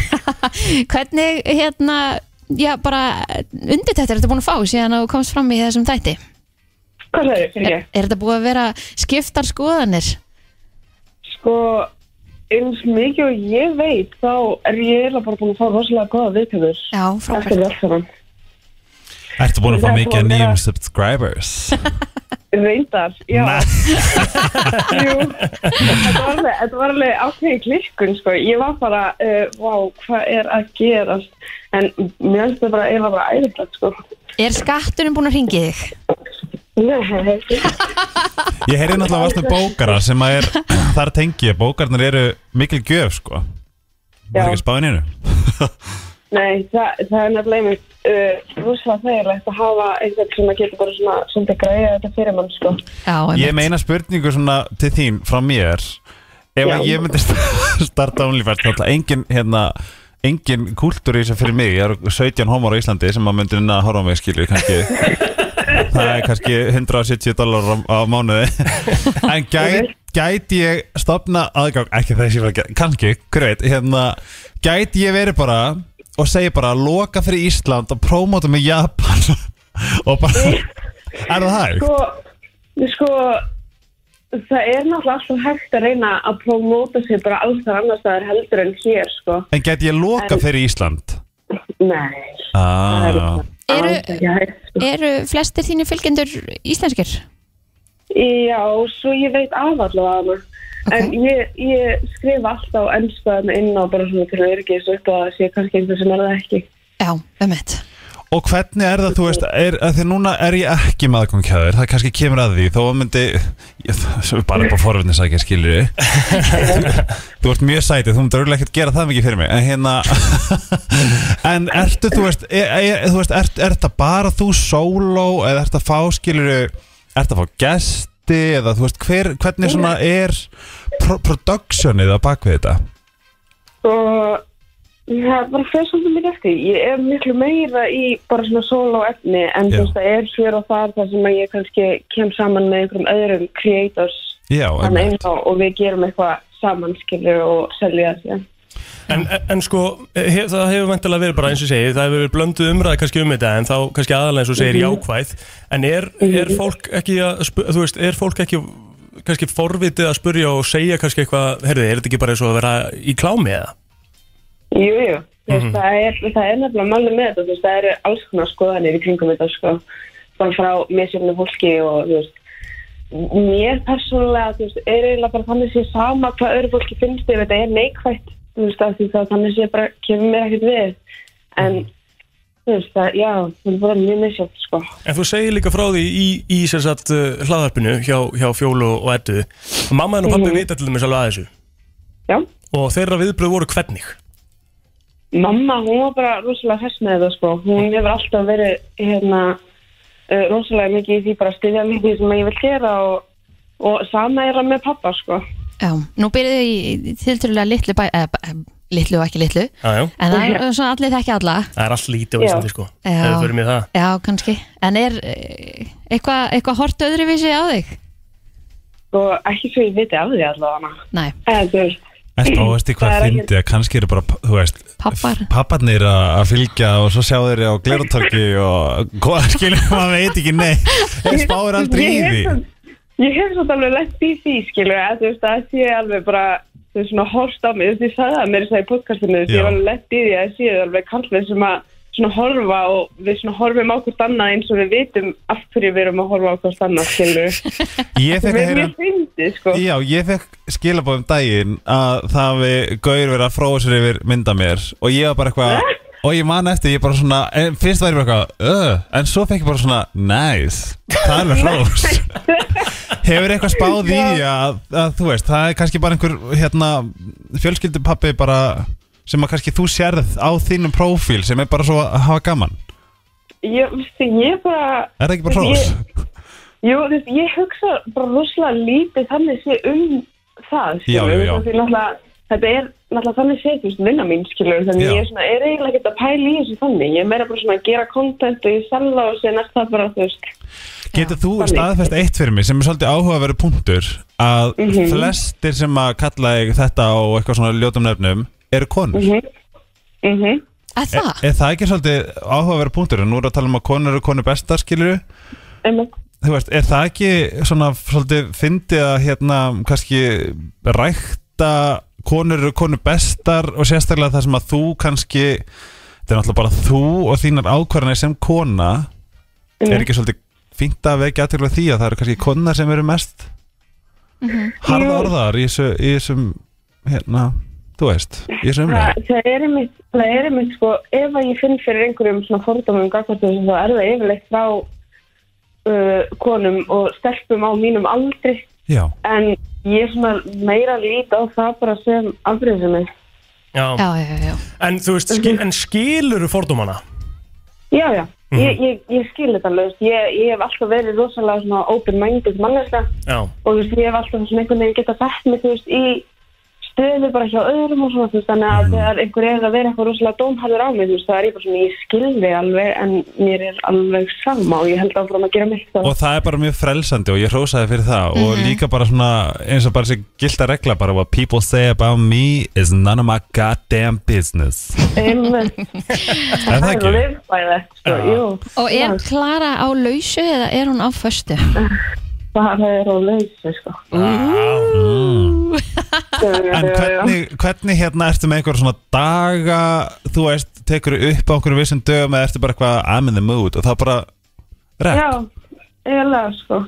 Hvernig hérna já bara undirtættir ertu búin að fá síðan að þú komst fram í þessum þætti?
Hvað sagði, fyrir
Er, er þetta búið að vera skiptar skoðanir?
Sko, eins mikið og ég veit þá er ég eiginlega bara búin að fá rosalega góða viðtökur
Já,
frábært Þetta er allt saman
Ertu búin að fá
Það er
mikið
búin
af
að
nýjum
vera-
subscribers?
Reyndar, já Jú, þetta var alveg, þetta var alveg ákveðin klikkun sko. Ég var bara, uh, vá, hvað er að gerast En mér finnst þetta bara eiginlega bara æðislegt sko.
Er skatturinn búin að ringi þig?
Nei
Ég heyri náttúrulega að varst með bókara sem að er þar tengi ég, bókarnir eru mikil gjöf sko Það er
Já.
ekki spáin einu
Nei, það, það er nefnilega einmitt uh, rosalega þægilegt að hafa einhvern sem að geta bara svona svolítið greiða þetta fyrir mann sko.
Já, um,
Ég meina spurningu svona til þín frá mér Ef
Já.
að ég myndi st- starta OnlyFans þá ætla engin hérna engin kúltúr í þessu fyrir mig ég er 17 homar á Íslandi sem að myndi inn að horfa á mig skilur kannski það er kannski 170 dólar á, á mánuði en gæt, gæti ég stopna aðgang, ekki það sem ég var að gera kannski, hver veit, hérna gæti ég verið bara og segi bara loka fyrir Ísland og prómóta með Japan og bara er það hægt?
Sko, sko, það er náttúrulega alltaf hægt að reyna að promóta sig bara alls þar annars staðar heldur en hér sko.
En gæti ég loka
En-
fyrir Ísland?
Nei,
Ah.
Eru,
sko.
eru flestir þínu fylgjendur íslenskir?
já, svo ég veit af allavega hana. En ég, ég skrif alltaf ennstaðan inn á bara svona til öryggis upp á að sé kannski einhver sem er það ekki.
Já, um eitt.
Og hvernig er það, þú veist, er, að því núna er ég ekki maðgangkjæður, það kannski kemur að því, þó að myndi, ég, það er bara upp á forvitnisækja, skilur ég. þú ert mjög sætið, þú myndir auðvitað ekkert gera það mikið fyrir mig, en hérna, en ertu, þú veist, er, er, þú veist, ert, ert það bara þú sóló, eða ert að fá, skilur ég, ert að fá gesti, eða þú veist, hver, hvernig svona er pro productionið á bakvið þetta?
og það bara fyrir svolítið mikið eftir ég er miklu meira í bara svona sól á efni en þú veist það er svér og þar þar sem að ég kannski kem saman með einhverjum öðrum creators
Já,
þannig eins og, og við gerum eitthvað saman skilur og selja þessi
En, en, en sko, hef, það hefur vantilega verið bara eins og ég segi, það hefur verið blönduð umræði kannski um þetta en þá kannski aðalega eins og segir
Mhm.
jákvæð en er, er fólk ekki að spu- þú veist, er fólk ekki kannski forvitið að spurja og segja kannski eitthvað herði, er þetta ekki bara eins og að vera í klámi eða?
Jú, jú, þú veist,
Mhm.
það, er, það er nefnilega málið með þetta, þú veist, það eru alls konar skoðanir í kringum þetta, sko, bara frá misjöfnu fólki og, þú veist, mér persónulega, þú veist, er eiginlega bara þannig sé sama hvað öðru fólki finnst ef þetta er neikvætt, þú veist, af því þá þannig sé bara kemur mér ekkert við, en, þú veist, það, já, það er bara mjög misjöfn, sko.
En þú segir líka frá því í, í sem sagt uh, hlaðarpinu hjá, hjá Fjólu og Eddu og mamma henn og pappi
Mhm.
vita til dæmis alveg að þessu
Já.
og þeirra viðbröð voru hvernig?
Mamma, hún var bara rosalega hess með þetta sko. Hún hefur alltaf verið hérna uh, rosalega mikið í því bara að styðja mig í því sem ég vil gera og, og sama er það með pappa sko.
Já, nú byrjuðu í, í tiltölulega litlu bæ, eða, bæ- litlu og ekki litlu
Já, já.
en það er svona allir þekki alla
Það er allt lítið á
Já.
Íslandi sko,
Já.
ef við fyrir mér það
Já, kannski, en er eh, eitthvað eitthva hort öðruvísi á þig?
Sko, ekki svo ég viti af því allavega.
Nei.
En, þú veist,
Ertu óveist í hvað
Það er ekki-
fyndi að kannski eru bara, þú veist,
Pappar.
papparnir að að fylgja og svo sjá þeir á gleratorki og hvað skilur, maður veit ekki neitt en spáir aldrei í
Ég hef
því
samt- Ég hef svolítið alveg lett í því skilur að þú veist að það sé alveg bara þú veist svona horst á mig, þú veist ég sagði það mér þess að í podcastinu, þú veist
Já.
ég var alveg lett í því að það séu alveg karlmenn sem að svona horfa og við svona horfum á hvort annað eins og við vitum af hverju við erum að horfa á hvort annað skilur
Ég fekk að
Mér
heyra
mér fyndi sko
Já, ég fekk skilabóð um daginn að það við gaur verið að fróa sér yfir mynda mér og ég var bara eitthvað og ég man eftir, ég bara svona en fyrst var ég bara eitthvað, öh, en svo fekk ég bara svona nice, það er með hrós Hefur eitthvað spáð í því að, að þú veist, það er kannski bara einhver hérna, fjölskyldupappi bara sem að kannski þú sérð á þínum prófíl sem er bara svo að hafa gaman
Ég, veistu, ég bara
Er það ekki bara hrós?
Ég- Jú, þú veist, ég hugsa bara rosalega lítið þannig sé um það, skilur.
Já, já, já.
Því náttúrulega, þetta er náttúrulega þannig sé, þú veist, vinna mín, skilur. Þannig
Já.
ég er svona, er eiginlega ekkert að pæla í þessu þannig. Ég er meira bara svona að gera content og ég selja og sér næst það bara, þú veist.
Getur þú
Þannig.
staðfest eitt fyrir mig sem er svolítið áhugaverður punktur að
Mhm.
flestir sem að kalla þig þetta og eitthvað svona ljótum nöfnum eru konur mm
Mhm.
Að það?
Er það ekki svolítið áhugaverður punktur en nú erum við að tala um að konur eru konur besta skilur
Einmitt.
þú veist, er það ekki svona svolítið fyndið að hérna kannski rækta konur eru konur bestar og sérstaklega það sem að þú kannski þetta er náttúrulega bara þú og þínar ákvarðanir sem kona
Mhm.
er ekki svolítið fínt að vekja aðtökla því að það eru kannski konar sem eru mest
Mhm.
harða orðar í þessu- í þessum hérna, þú veist í þessum umræð
Það, það er einmitt, það er einmitt sko, ef að ég finn fyrir einhverjum svona fordómum gagvart þessu, þá er það yfirleitt frá uh, konum og stelpum á mínum aldri.
Já.
En ég er svona meira lít á það bara sem afbreyðsumir.
Já.
Já, já, já.
En þú veist, skil, en skilur fordómana?
Já, já, ég, ég, ég skil þetta alveg, þú veist, ég, ég hef alltaf verið rosalega svona open-minded manneska
Já.
og þú veist, ég hef alltaf svona einhvern veginn geta fætt mig, þú veist, í stöðu bara hjá öðrum og svona, þú veist,
Mm.
þannig að þegar einhver er að vera eitthvað rosalega dómharður á mig, þú veist, það er ég bara svona, ég skil þig alveg en mér er alveg sama og ég held áfram að gera mitt það.
og það er bara mjög frelsandi og ég hrósaði fyrir það og
Mhm.
líka bara svona eins og bara þessi gilda regla bara what people say about me is none of my goddamn business
sko, Það
það ekki?
rifbæðið, sko,
Já.
jú.
Og er Klara á lausu eða er hún á föstu?
Það er á lausu, sko.
mm. en
já, já.
hvernig, hvernig hérna ertu með einhver svona daga þú veist, tekur upp á einhverjum vissum dögum eða ertu bara eitthvað I'm in the mood og það bara rap
Já, eiginlega, sko.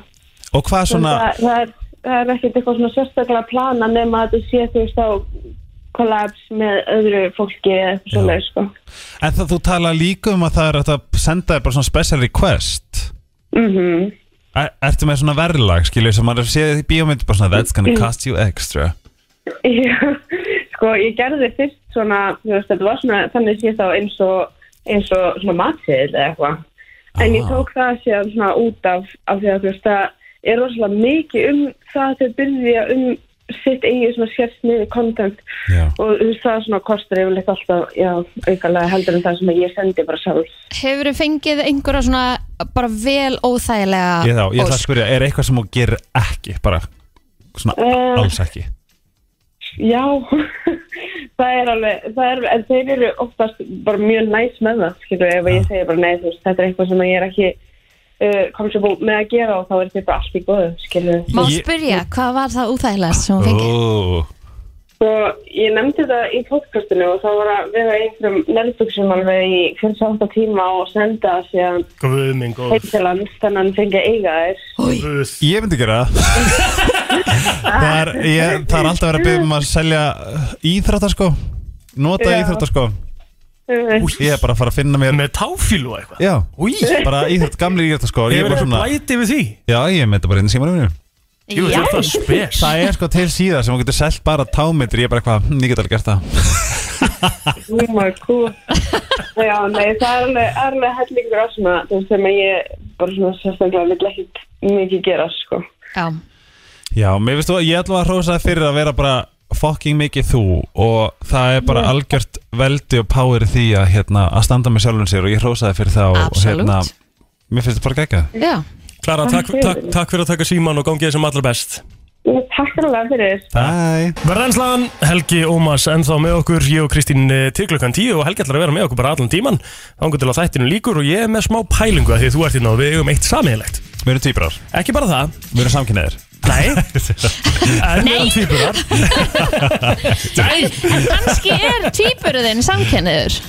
og hvað svona
það, það, er, það er ekkert eitthvað svona sérstaklega plana nema að þetta sé þú veist á kollaps með öðru fólki eða eitthvað svoleiðis sko.
En það þú tala líka um að það er hægt að senda þér bara svona special request
mm
Mhm. er, Ertu með svona verðlag, skilju, sem maður séð í bíómynd bara svona That's gonna cost you extra
sko, ég gerði fyrst svona, þú veist, þetta var svona þannig sé þá eins og, eins og svona matseðil eða eitthvað en ég tók það síðan svona út af af því að þú veist, það er rosalega mikið um það að þau byrja um sitt eigið svona sérst niður content já. og þú veist, það svona kostar yfirleitt alltaf, já, aukalega heldur en það sem ég sendi bara sjálf
Hefur þið fengið einhverja svona bara vel
Ah,
óþægilega
Ég þá, ég ætla að
ósk?
spyrja, er eitthvað sem þú gerir ekki, bara svona
Eh.
alls ekki
Já, það er alveg, það er, en þeir eru oftast bara mjög næs með það, skilur, ef ég segi bara nei, þú veist, þetta er eitthvað sem ég er ekki uh, comfortable með að gera og þá er þetta bara allt í góðu, skilur.
Má spyrja, hvað var það úþægilegast sem hún fengið?
oh.
Og Sko, ég nefndi þetta í podcastinu og þá var að vera í einhverjum nærbuksum alveg í 48 tíma og senda það síðan
Guð minn góð
heim til hans, þannig að hann fengi að eiga þér.
Ég myndi gera það það er, ég, það er alltaf verið að byggja um að selja íþrótta sko Nota
Já.
íþrótta sko
Új,
Ég er bara að fara að finna mér
Með táfílu og eitthvað
Já,
Új.
bara íþrótt, gamli íþrótta sko Ég er bara svona
blæti við því
Já, ég með þetta bara inn í símanum
Jú, þú ert það spes.
Það er sko til síða sem hún getur selt bara támyndir Ég er bara eitthvað, hm, ég get alveg gert það
Oh my god Já, nei, það er alveg, alveg hellingur á svona þú veist, sem að ég bara svona sérstaklega vil ekki mikið gera sko.
Já
Já, mér veistu að ég ætla að hrósa það fyrir að vera bara fucking mikið þú og það er bara algjört veldi og power í því að, hérna, að standa með sjálfum sér og ég hrósa það fyrir það og hérna,
Absolutt.
mér finnst þetta bara geggjað
Já
Klara, takk, takk, takk fyrir að taka síman og gangi þér sem allra best
Takk alveg fyrir
Bye
Verðanslan, Helgi Ómas ennþá með okkur, ég og Kristín eh, til klukkan 10 og Helgi ætlar að vera með okkur bara allan tíman þangur til að þættinu líkur og ég er með smá pælingu að því að þú ert hérna og við eigum eitt samíðilegt
Við erum týprar
Ekki bara það
Við erum samkynniðir
Nei En við erum týpurar Nei
En kannski er týpuruðinn samkenniður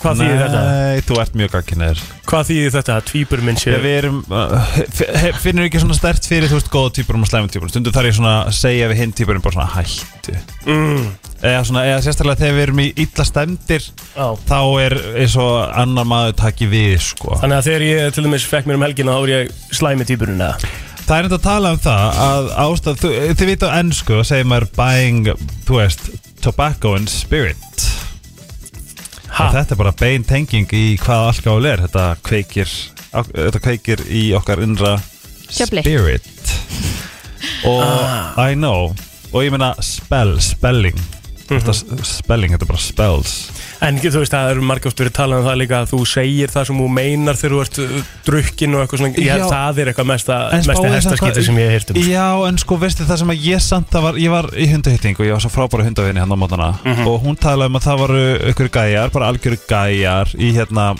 Hvað þýðir þetta?
Nei, þú ert mjög gagkinniðir
Hvað þýðir þetta að týpur minn sé
Við erum, uh, f- he- finnur ekki svona stert fyrir þú veist góða týpurum og slæmum týpurum Stundum þarf ég svona að segja við hinn týpurum bara svona hættu
mm.
eða, svona, eða sérstaklega þegar við erum í illa stemdir
Já.
þá er eins og annar maður takki við sko.
Þannig að þegar ég til dæmis fekk mér um helgina þá er ég slæmi týpurinn eða
það er þetta að tala um það að ástæð, þú, þið vita á ennsku og segir maður buying, þú veist tobacco and spirit og þetta er bara bein tenging í hvað alkohol er þetta kveikir, á- þetta kveikir í okkar innra
Djöfli.
spirit og I know og ég meina spell, spelling þetta, spelling, þetta er bara spells
En þú veist, það eru margjóft verið talað um það líka að þú segir það sem þú meinar þegar þú ert uh, drukkin og eitthvað svona, ég,
Já.
það er eitthvað mesta,
En
mesta
spáðu samt
hestaskýti
hvað-
sem ég heirt um.
Já, en sko, veistu það sem að ég samt það var, ég var í hundahýtting og ég var svo frábæra hundavinni hann á mótana
Mhm.
og hún talaði um að það voru ykkur gæjar, bara algjöru gæjar í hérna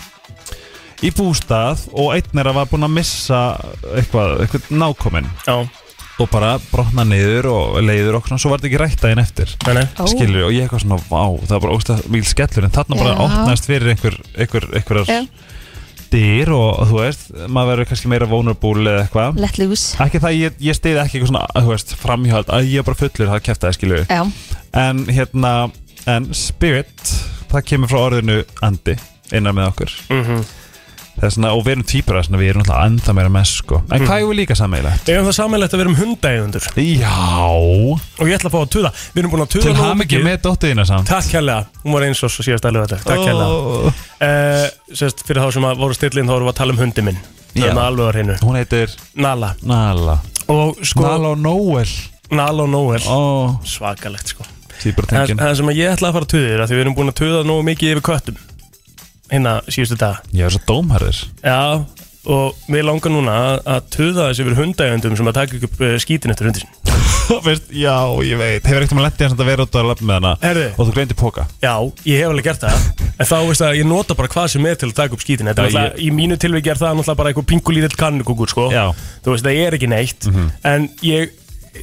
í bústað og einn er að var búin að missa eitthvað, eitthvað nákomin
Já
og bara brotna niður og leiður okkur svo var þetta ekki rætt daginn eftir
nei, nei.
Ó.
skilur og ég eitthvað svona, vá, það var bara ógstað mjög skellur en þarna bara
Já.
opnaðist fyrir einhver, einhver, einhverjar
Já.
dyr og þú veist, maður verður kannski meira vulnerable eða eitthvað
Let loose
ekki það, ég, ég stiði ekki eitthvað svona, þú veist, framhjóð að ég er bara fullur, það kæfti það, skilju
Já,
en hérna, en spirit það kemur frá orðinu andi innan með okkur
Mhm.
það er svona, og við erum týpur að svona, við erum alltaf anda meira með, sko, en hvað er við líka sammeilegt?
Ég Mhm. það samanlegt að vera um hundaeigundur
Já
og ég ætla að fá að tuða. Við erum búin að tuða
Til
nógu
hamingi
mikið.
með dóttuðina samt
Takk hérlega, hún var eins og svo síðast alveg þetta Takk
hérlega
uh, Sérst, fyrir þá sem að voru stillin þá vorum við að tala um hundi minn Það
Já.
er með alveg á hreinu
Hún heitir
Nala
Nala
Og sko
Nala og Noel
Nala og Noel
oh.
Svakalegt sko
Týpur
Það
tengin
það sem að ég ætla að fara að tuða er að því við erum búin að tuða nógu mikið yfir köttum Hérna síðustu dag
Ég er svo dómharður
Já, og við langar núna að- að tuða þessi yfir hundægjöndum sem að taka ekki upp eh, skítin eftir hundir sin
Veist, Já, ég veit Hefur ekkert um að lendi hans að vera út að lafna með hana
Herðu.
Og þú gleymdi póka
Já, ég hef alveg gert það En þá veist að ég nota bara hvað sem er til að taka upp skítin Þetta er
Já,
náttúrulega, í mínu tilviki er það náttúrulega bara einhver pingulítill kannukúkur sko
Já.
Þú veist, það er ekki neitt En ég,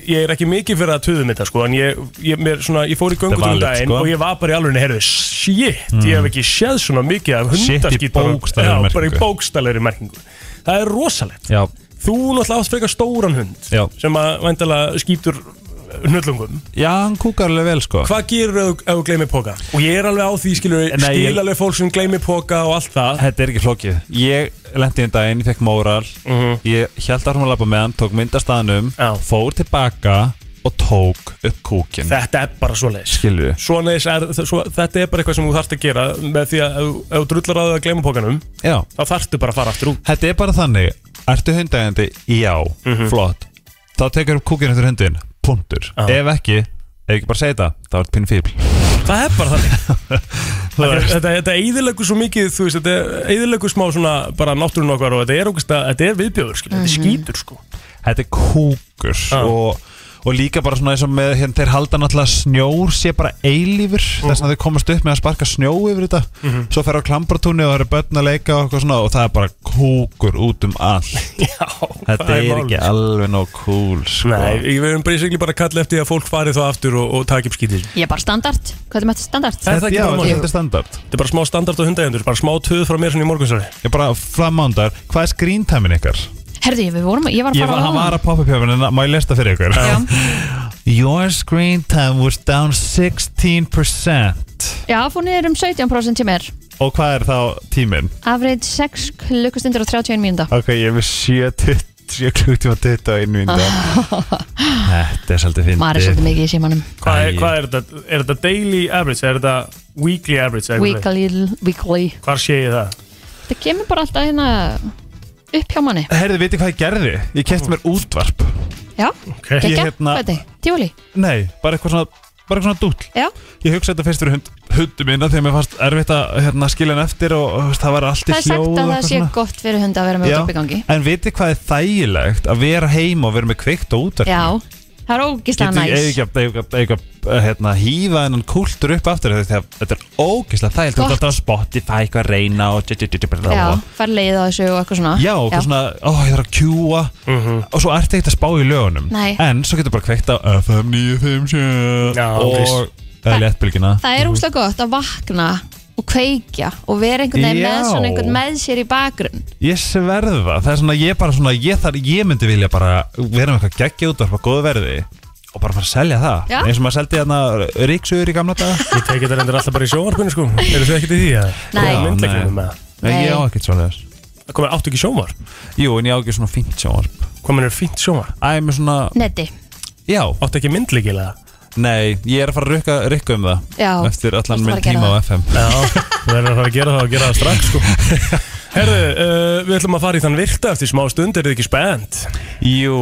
ég er ekki mikið fyrir að tuðum þetta sko En ég, ég, mér, svona, ég fór í göngutúrum
valid,
daginn
sko. Mm.
Og ég var bara í alveg, heyrðu, shit Ég hef ekki séð svona mikið af
Shit í
hundaskít
bókstaflegri
Já, bara í
merkingu.
bókstaflegri merkingu Það er rosalegt
Já,
Þú náttúrulega átt frekar stóran hund
já
sem að væntalega skýtur nullungum
Já, hann kúkar alveg vel sko
Hvað gerur ef þú gleymir póka? Og ég er alveg á því, skilur,
Nei, ég-
skil alveg fólk sem gleymir póka og allt það
Þetta er ekki flókið Ég lendi einn daginn, ég fekk móral
Mhm.
Ég held að hún að labba með hann, tók myndastaðanum Já. Fór tilbaka og tók upp kúkin
Þetta er bara svo leiðis
Skilju
Svona er, svo, þetta er bara eitthvað sem þú þarft að gera með því að ef þú- ef þú drullar að það að gleyma pókanum
Já.
þá þarftu bara að fara aftur út
Þetta er bara þannig Ertu hundægandi? Já,
Mhm.
flott Þá tekur upp kúkin eftir hundin, punktur Ef ekki, ef ekki bara segja það Þá er þetta pinn fíbl
Það er bara þannig Þetta- Þetta, þetta eðilegu svo mikið, þú veist, þetta eðilegu smá svona bara náttúrun okkar og þetta er, ógust, þetta er viðbjöður, skilur, þetta
Mhm.
Mhm.
er skítur sko
Þetta er kúkur og, og líka bara svona eins og með hérna, þeir halda náttúrulega að snjór sé bara eilífur þess
Mhm.
að þeir komast upp með að sparka snjó yfir þetta svo fer á klambratúni og það eru börn að leika og, eitthvað svona, og það er bara kúkur út um allt
Já,
Þetta
það
er,
er málið,
ekki
sko.
alveg nóg cool sko.
Nei, ég verðum bara í sigli bara að kalla eftir því að fólk fari þá aftur og, og taki upp skítið
Ég er bara standard, hvað er með þetta standard?
er standard
Þetta er bara smá standard og hundægjendur, bara smá töð frá mér svona í morgunsari
Ég bara framándar, hvað er skríntamin ykkar?
Herðu, við vorum, ég var að
Ég
fara
var,
á
hann var að poppa upp hjá mér, en má ég lesta fyrir ykkur? Your screen time was down 16%
Já, fór niður um 17% hjá mér
Og hvað er þá tíminn?
Average 6 klukkustundir og 31 mínúnda
Ok, ég er með 7 7 klukkutíma 21 mínúta Þetta er svolítið fyndið
Ah, Maður er svolítið mikið í símanum
Hvað er, hvað er þetta? Er þetta daily average? Er þetta weekly average? eða eitthvað?
Weekly, weekly
Hvar sé ég það?
Það kemur bara alltaf hérna upp hjá manni
Herðu, veitir hvað ég gerði? Ég kæfti mér útvarp
Já,
okay.
Gekka,
hérna,
hvað er þetta? Tífali?
Nei, bara eitthvað svona, bara eitthvað svona dúll
Já.
Ég hugsaði þetta fyrst fyrir hund, hundu minna Þegar mér fannst erfitt að hérna, skilja hann eftir Og og, þú veist, það var allt í
Það er
hljóð
sagt
og
að
eitthvað
það sé
svona.
gott fyrir hunda að vera með
Já.
útvarp í gangi
En veitir hvað er þægilegt Að vera heima og vera með kveikt og útvarp
Já, það er ógislega
Getur
næs
ég eiga að hérna, hýfa hennan kúltur upp aftur þetta, þetta er ógeðslega þægilt Þetta
Gott.
er alltaf á Spotify, eitthvað að reyna og dj- dj- dj- dj-
Já,
og-
fær leið á þessu og eitthvað svona
Já, og eitthvað svona, ó, ég þarf að kjúa
Mhm.
Og svo ertu ekkert að spá í lögunum
Nei.
En svo getur bara kveikt á FM 957
Já, Mhm.
Og
víst.
eða léttbylgina
Það er ógislega gott að vakna og kveikja og vera einhvern veginn með
Já.
svona einhvern með sér í bakgrunn
Ég sverðu það, það er svona, ég bara svona Ég, þar, ég myndi vilja bara vera með eitthvað geggja út Á góðu verði og bara fara að selja það
Já.
Eins og maður seldi hérna ríksugur í gamla daga
Ég teki þetta reyndir alltaf bara í sjónvarpinu sko Eru þið ekkert í því að
Nei.
Já,
nei.
myndleikinu með það?
Nei, ég á ekkert svona þess
Það komið áttu ekki sjónvarp?
Jú, en ég á ekki svona fínt sjónvarp
Hvað minn er fínt sjónvarp?
Æ, með svona,
Netti
já
Áttu ekki myndleikilega?
Nei, ég er að fara að rukka, rukka um það
Já,
Eftir allan
þú
minn
ert að fara að
tíma á
gera
FM
Já, við verðum að fara að gera það og gera það strax sko Herðu, uh, við ætlum að fara í þann virta eftir smá stund, er þið ekki spennt?
Jú,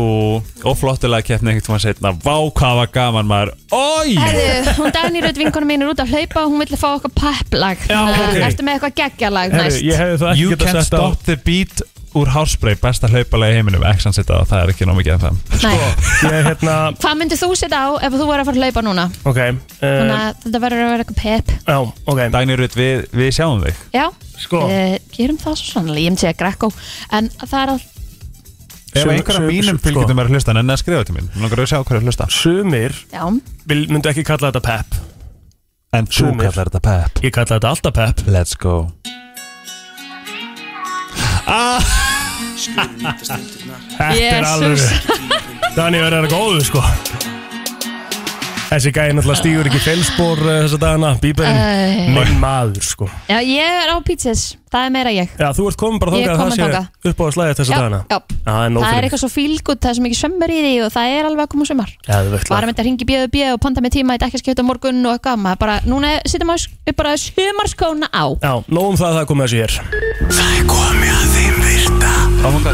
og flottulega keppni einhvern tíma setna Vá, hvað var gaman maður Ói
Herðu, hún Dagný Rödd vinkonu mín er út að hlaupa og hún vill fá okkar pepplag
Já, ok.
Ertu með eitthvað geggjalag næst?
You can't stop the beat úr Hárspray Besta hlaupalega í heiminum X-an setja það, það er ekki nóg mikið FM
Sko, ég hérna
Hvað myndir þú setja á ef þú væri að fara að hlaupa
Eh.
núna?
Ok,
Þannig
uh,
að þetta verður að vera eitthvað pepp
já, ok
Dagný Rutt, við, við sjáum þig
Já,
Sko.
Eh, gerum það svo sannlega, ég myndi segja Greco En það er all...
Ef
Sum-
einhver af
sum-
mínum
sko.
fylgjöndum er að hlusta En að skrifa til mín, langar að sjá hver er að hlusta
Sumir
Já,
vil, myndu ekki kalla þetta pep
En þú
Sumir.
kallar þetta pep
Ég kalla þetta alltaf pep
Let's go Ah!
Þetta er alveg
Jesus.
Dani verður að vera góðu sko Þessi gæði náttúrulega stígur ekki felspor uh, þessa dagana Bíberinn,
Æ.
minn maður sko
já ég er á pizzas, það er meira ég
Já, þú ert komin bara
Ég
þangað
er
að
komin
það
þangað.
sé upp á að slæða þessa
Já,
dagana
já.
Já, það er nóg
Það er
fyrir
eitthvað svo fílgútt, það er svo mikið sömmur í því og það er alveg að koma sömmar
Já, þú veit
Varum þetta að ringi bjöðu bjöðu og panta með tíma Þetta ekki að skjóta á morgun og eitthvað maður bara, Núna sittum við upp Ah, bara sömarskóna á
Já, nóg um það að það komið þessu hér
Það er komið að þeim virta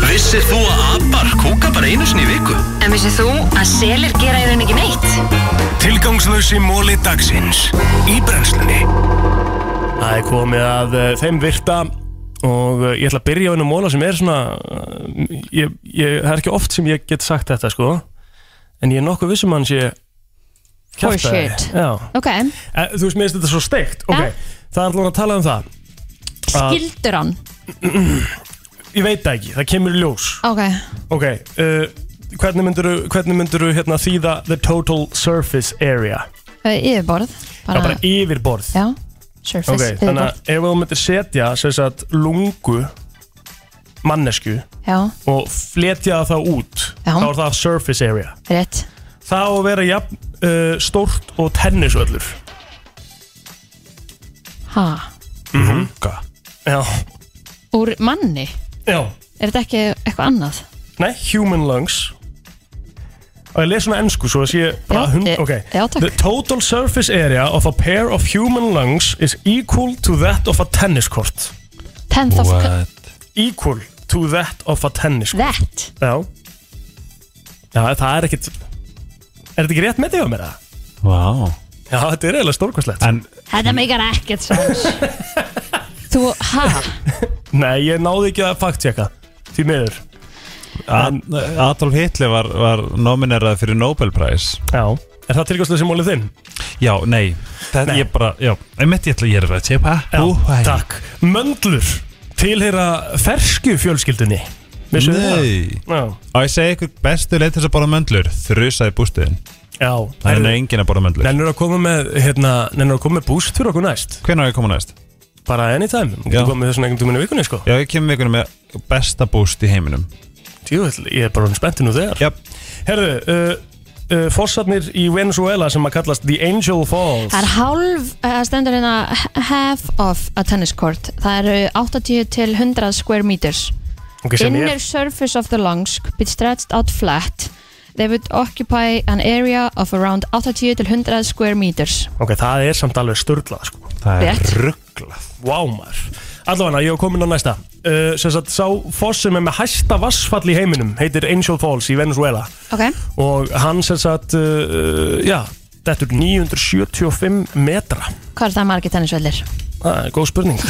Vissir þú að abar kúka bara einu sinni í viku?
En vissið þú að selir gera í raun ekki neitt?
Tilgangslösi móli dagsins Í brennslunni
Það er komið að uh, þeim virta og uh, ég ætla að byrja á einu móla sem er svona uh, ég, ég, það er ekki oft sem ég get sagt þetta sko en ég er nokkuð vissum hann sé kjaftæði.
Horseshit.
Já,
oh, Ok,
Eh, Þú veist, mér finnst þetta svo steikt Ok,
Ja.
það er alveg að tala um það Að-
skildur hann
Ég veit það ekki, það kemur í ljós
Ok,
Ok, uh, hvernig myndiru, hvernig myndiru hérna, þýða The total surface area
Eh, yfirborð
Það er bara yfirborð
Já, surface
Ok, þannig
yfirborð
að ef þú myndir setja sem sagt, lungu mannesku
Já,
og fletja það út
Já.
þá er það surface area
rétt
það á að vera jafn uh, stórt og tennisvöllur
Ha,
Runga Mhm. Já,
úr manni?
Já.
Er þetta ekki eitthvað annað?
nei, human lungs Og ég les svona ennsku svo að sé bara
Já,
hund,
ég-
ok
já, takk.
The total surface area of a pair of human lungs is equal to that of a tennis court
Tenth of...
Equal to that of a tennis court
That?
Já Já, það er ekkit Er þetta ekki rétt með þig á mér það?
Vá
Já, þetta er eiginlega stórkvæslegt
En
Þetta meikar ekkert sens Þú, ha?
Nei, ég náði ekki að faktjekka Því miður
Ad- Adolf Hitler var, var nominerað fyrir Nobelpræs
Já, er það tilgjóðslega sem mólið þinn?
Já, nei, þetta
Nei.
ég bara, já, einmitt ég ætla að ég er að tjepa
Já, takk Möndlur Tilheyra fersku fjölskyldunni Vissuð þið það?
Nei
Já.
Og ég segi ykkur bestu leið til þess að borða möndlur Þrusa í bústuðin
Já
Það er enginn að borða möndlur
Nennur að koma með, hérna, nennur að koma með búst fyrir okkur næst
Hvenær á ég að koma næst?
Bara anytime, þú
Já.
getur komið þessum einhvern tíminu vikunni, sko
Já, ég kemur vikunum með besta búst í heiminum
Jú, ég er bara hann spennti nú þegar
Jáp
Herðu, uh, uh, fossarnir í Venezuela sem að kallast The Angel Falls
Það er hálf, það stendur hérna h- half of a tennis court Það eru 80 til 100 square meters
Ok, sem er-
Inner surface of the lungs could be stretched out flat They would occupy an area of around 80 til 100 square meters
Ok, það er samt alveg störlað, sko
Það
er Rétt.
rugglað
Vá maður Allavega, ég hef komin á næsta uh, Sem sagt, sá foss sem er með hæsta vassfall í heiminum Heitir Angel Falls í Venezuela
Ok
Og hann sem sagt, uh, já Þetta er 975 metra
Hvað er það margir tennisvellir?
Það er góð spurning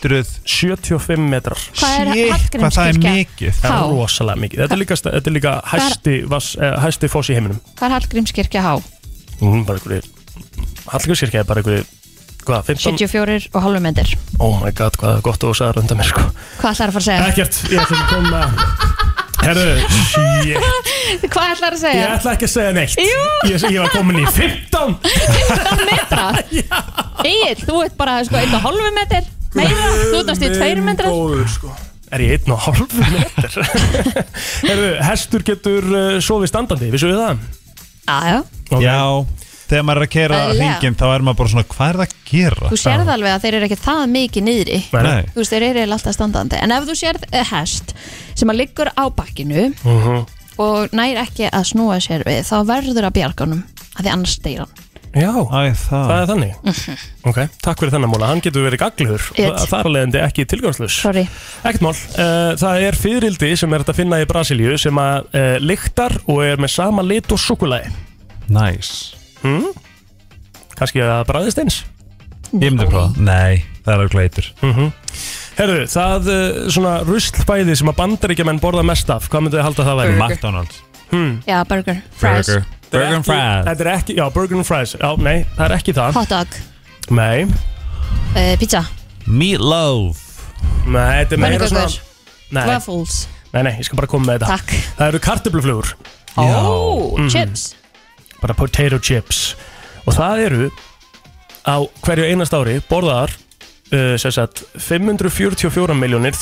975 metrar
Hvað er Shit, Hallgrímskirkja? hvað það er mikið.
Það
Há.
er rosalega mikið Þetta er líka, sta- þetta er líka
er-
hæsti, vass, eh, hæsti foss í heiminum
Hvað er Hallgrímskirkja há?
Hún er bara einhverju Hallgrímskirkja er bara einhverju Hvað, 15?
74 og halvum endur
Oh my god, hvað er gott og sæðar undan mér sko
Hvað ætlar að fara að segja?
Ekkert, ég ætla ekki að koma með Herru, shit
Hvað ætlar
Ég
að segja?
ætla ekki að segja neitt
Jú.
ég, ég var komin í 15
15 metra? Egil, þú ert bara sko, einn og halvum metr meira, þú ert næstu tveir metrar
góður, sko. Er ég einn og hálf metr? Herru, hestur getur uh, sofið standandi, vissu við það?
Aðja,
Okay.
Já, þegar maður er að kera
Eðlilega.
hringin þá er maður bara svona, hvað er það að gera?
þú sérð alveg að þeir eru ekki það mikið niðri
Nei, nei.
Þú veist, þeir eru eiginlega alltaf standandi En ef þú sérð eh, hest sem að liggur á bakkinu
Mhm.
og nær ekki að snúa sér við þá verður að bjarga honum að því annars deyr hann
Já, Æ,
það.
er þannig
Mhm.
Ok, takk fyrir þennan móla, hann getur verið gagliður
Ég-
Það er alvegandi ekki tilgangslös
Sorry
Ekkert mál, uh, það er fyririldi sem er hægt að finna í Brasilíu sem að uh, lyktar og er með sama lit og súkulagi
Næs
hmm? Kanski að það bræðist eins
Ég myndi að prófa Nei, það er auðvitað eitur
mm Herru, það uh, svona ruslfæði sem að bandaríkjamenn borða mest af, hvað myndu þið halda að það væri?
Burger. McDonald's.
hmm.
Já, burger, fries,
Burger and fries.
Þetta er ekki, já, burger and fries Já, nei, það er ekki það
hot dog,
Nei,
uh, pizza,
Meatloaf
nei, þetta er meira svona
pönnukökur,
Nei,
waffles
nei, nei, ég skal bara koma með þetta
Takk.
Það eru kartöbluflugur
Ó,
Mhm.
chips
Bara potato chips Og það eru á hverju einast ári borðaðar uh, sem sagt 544 miljónir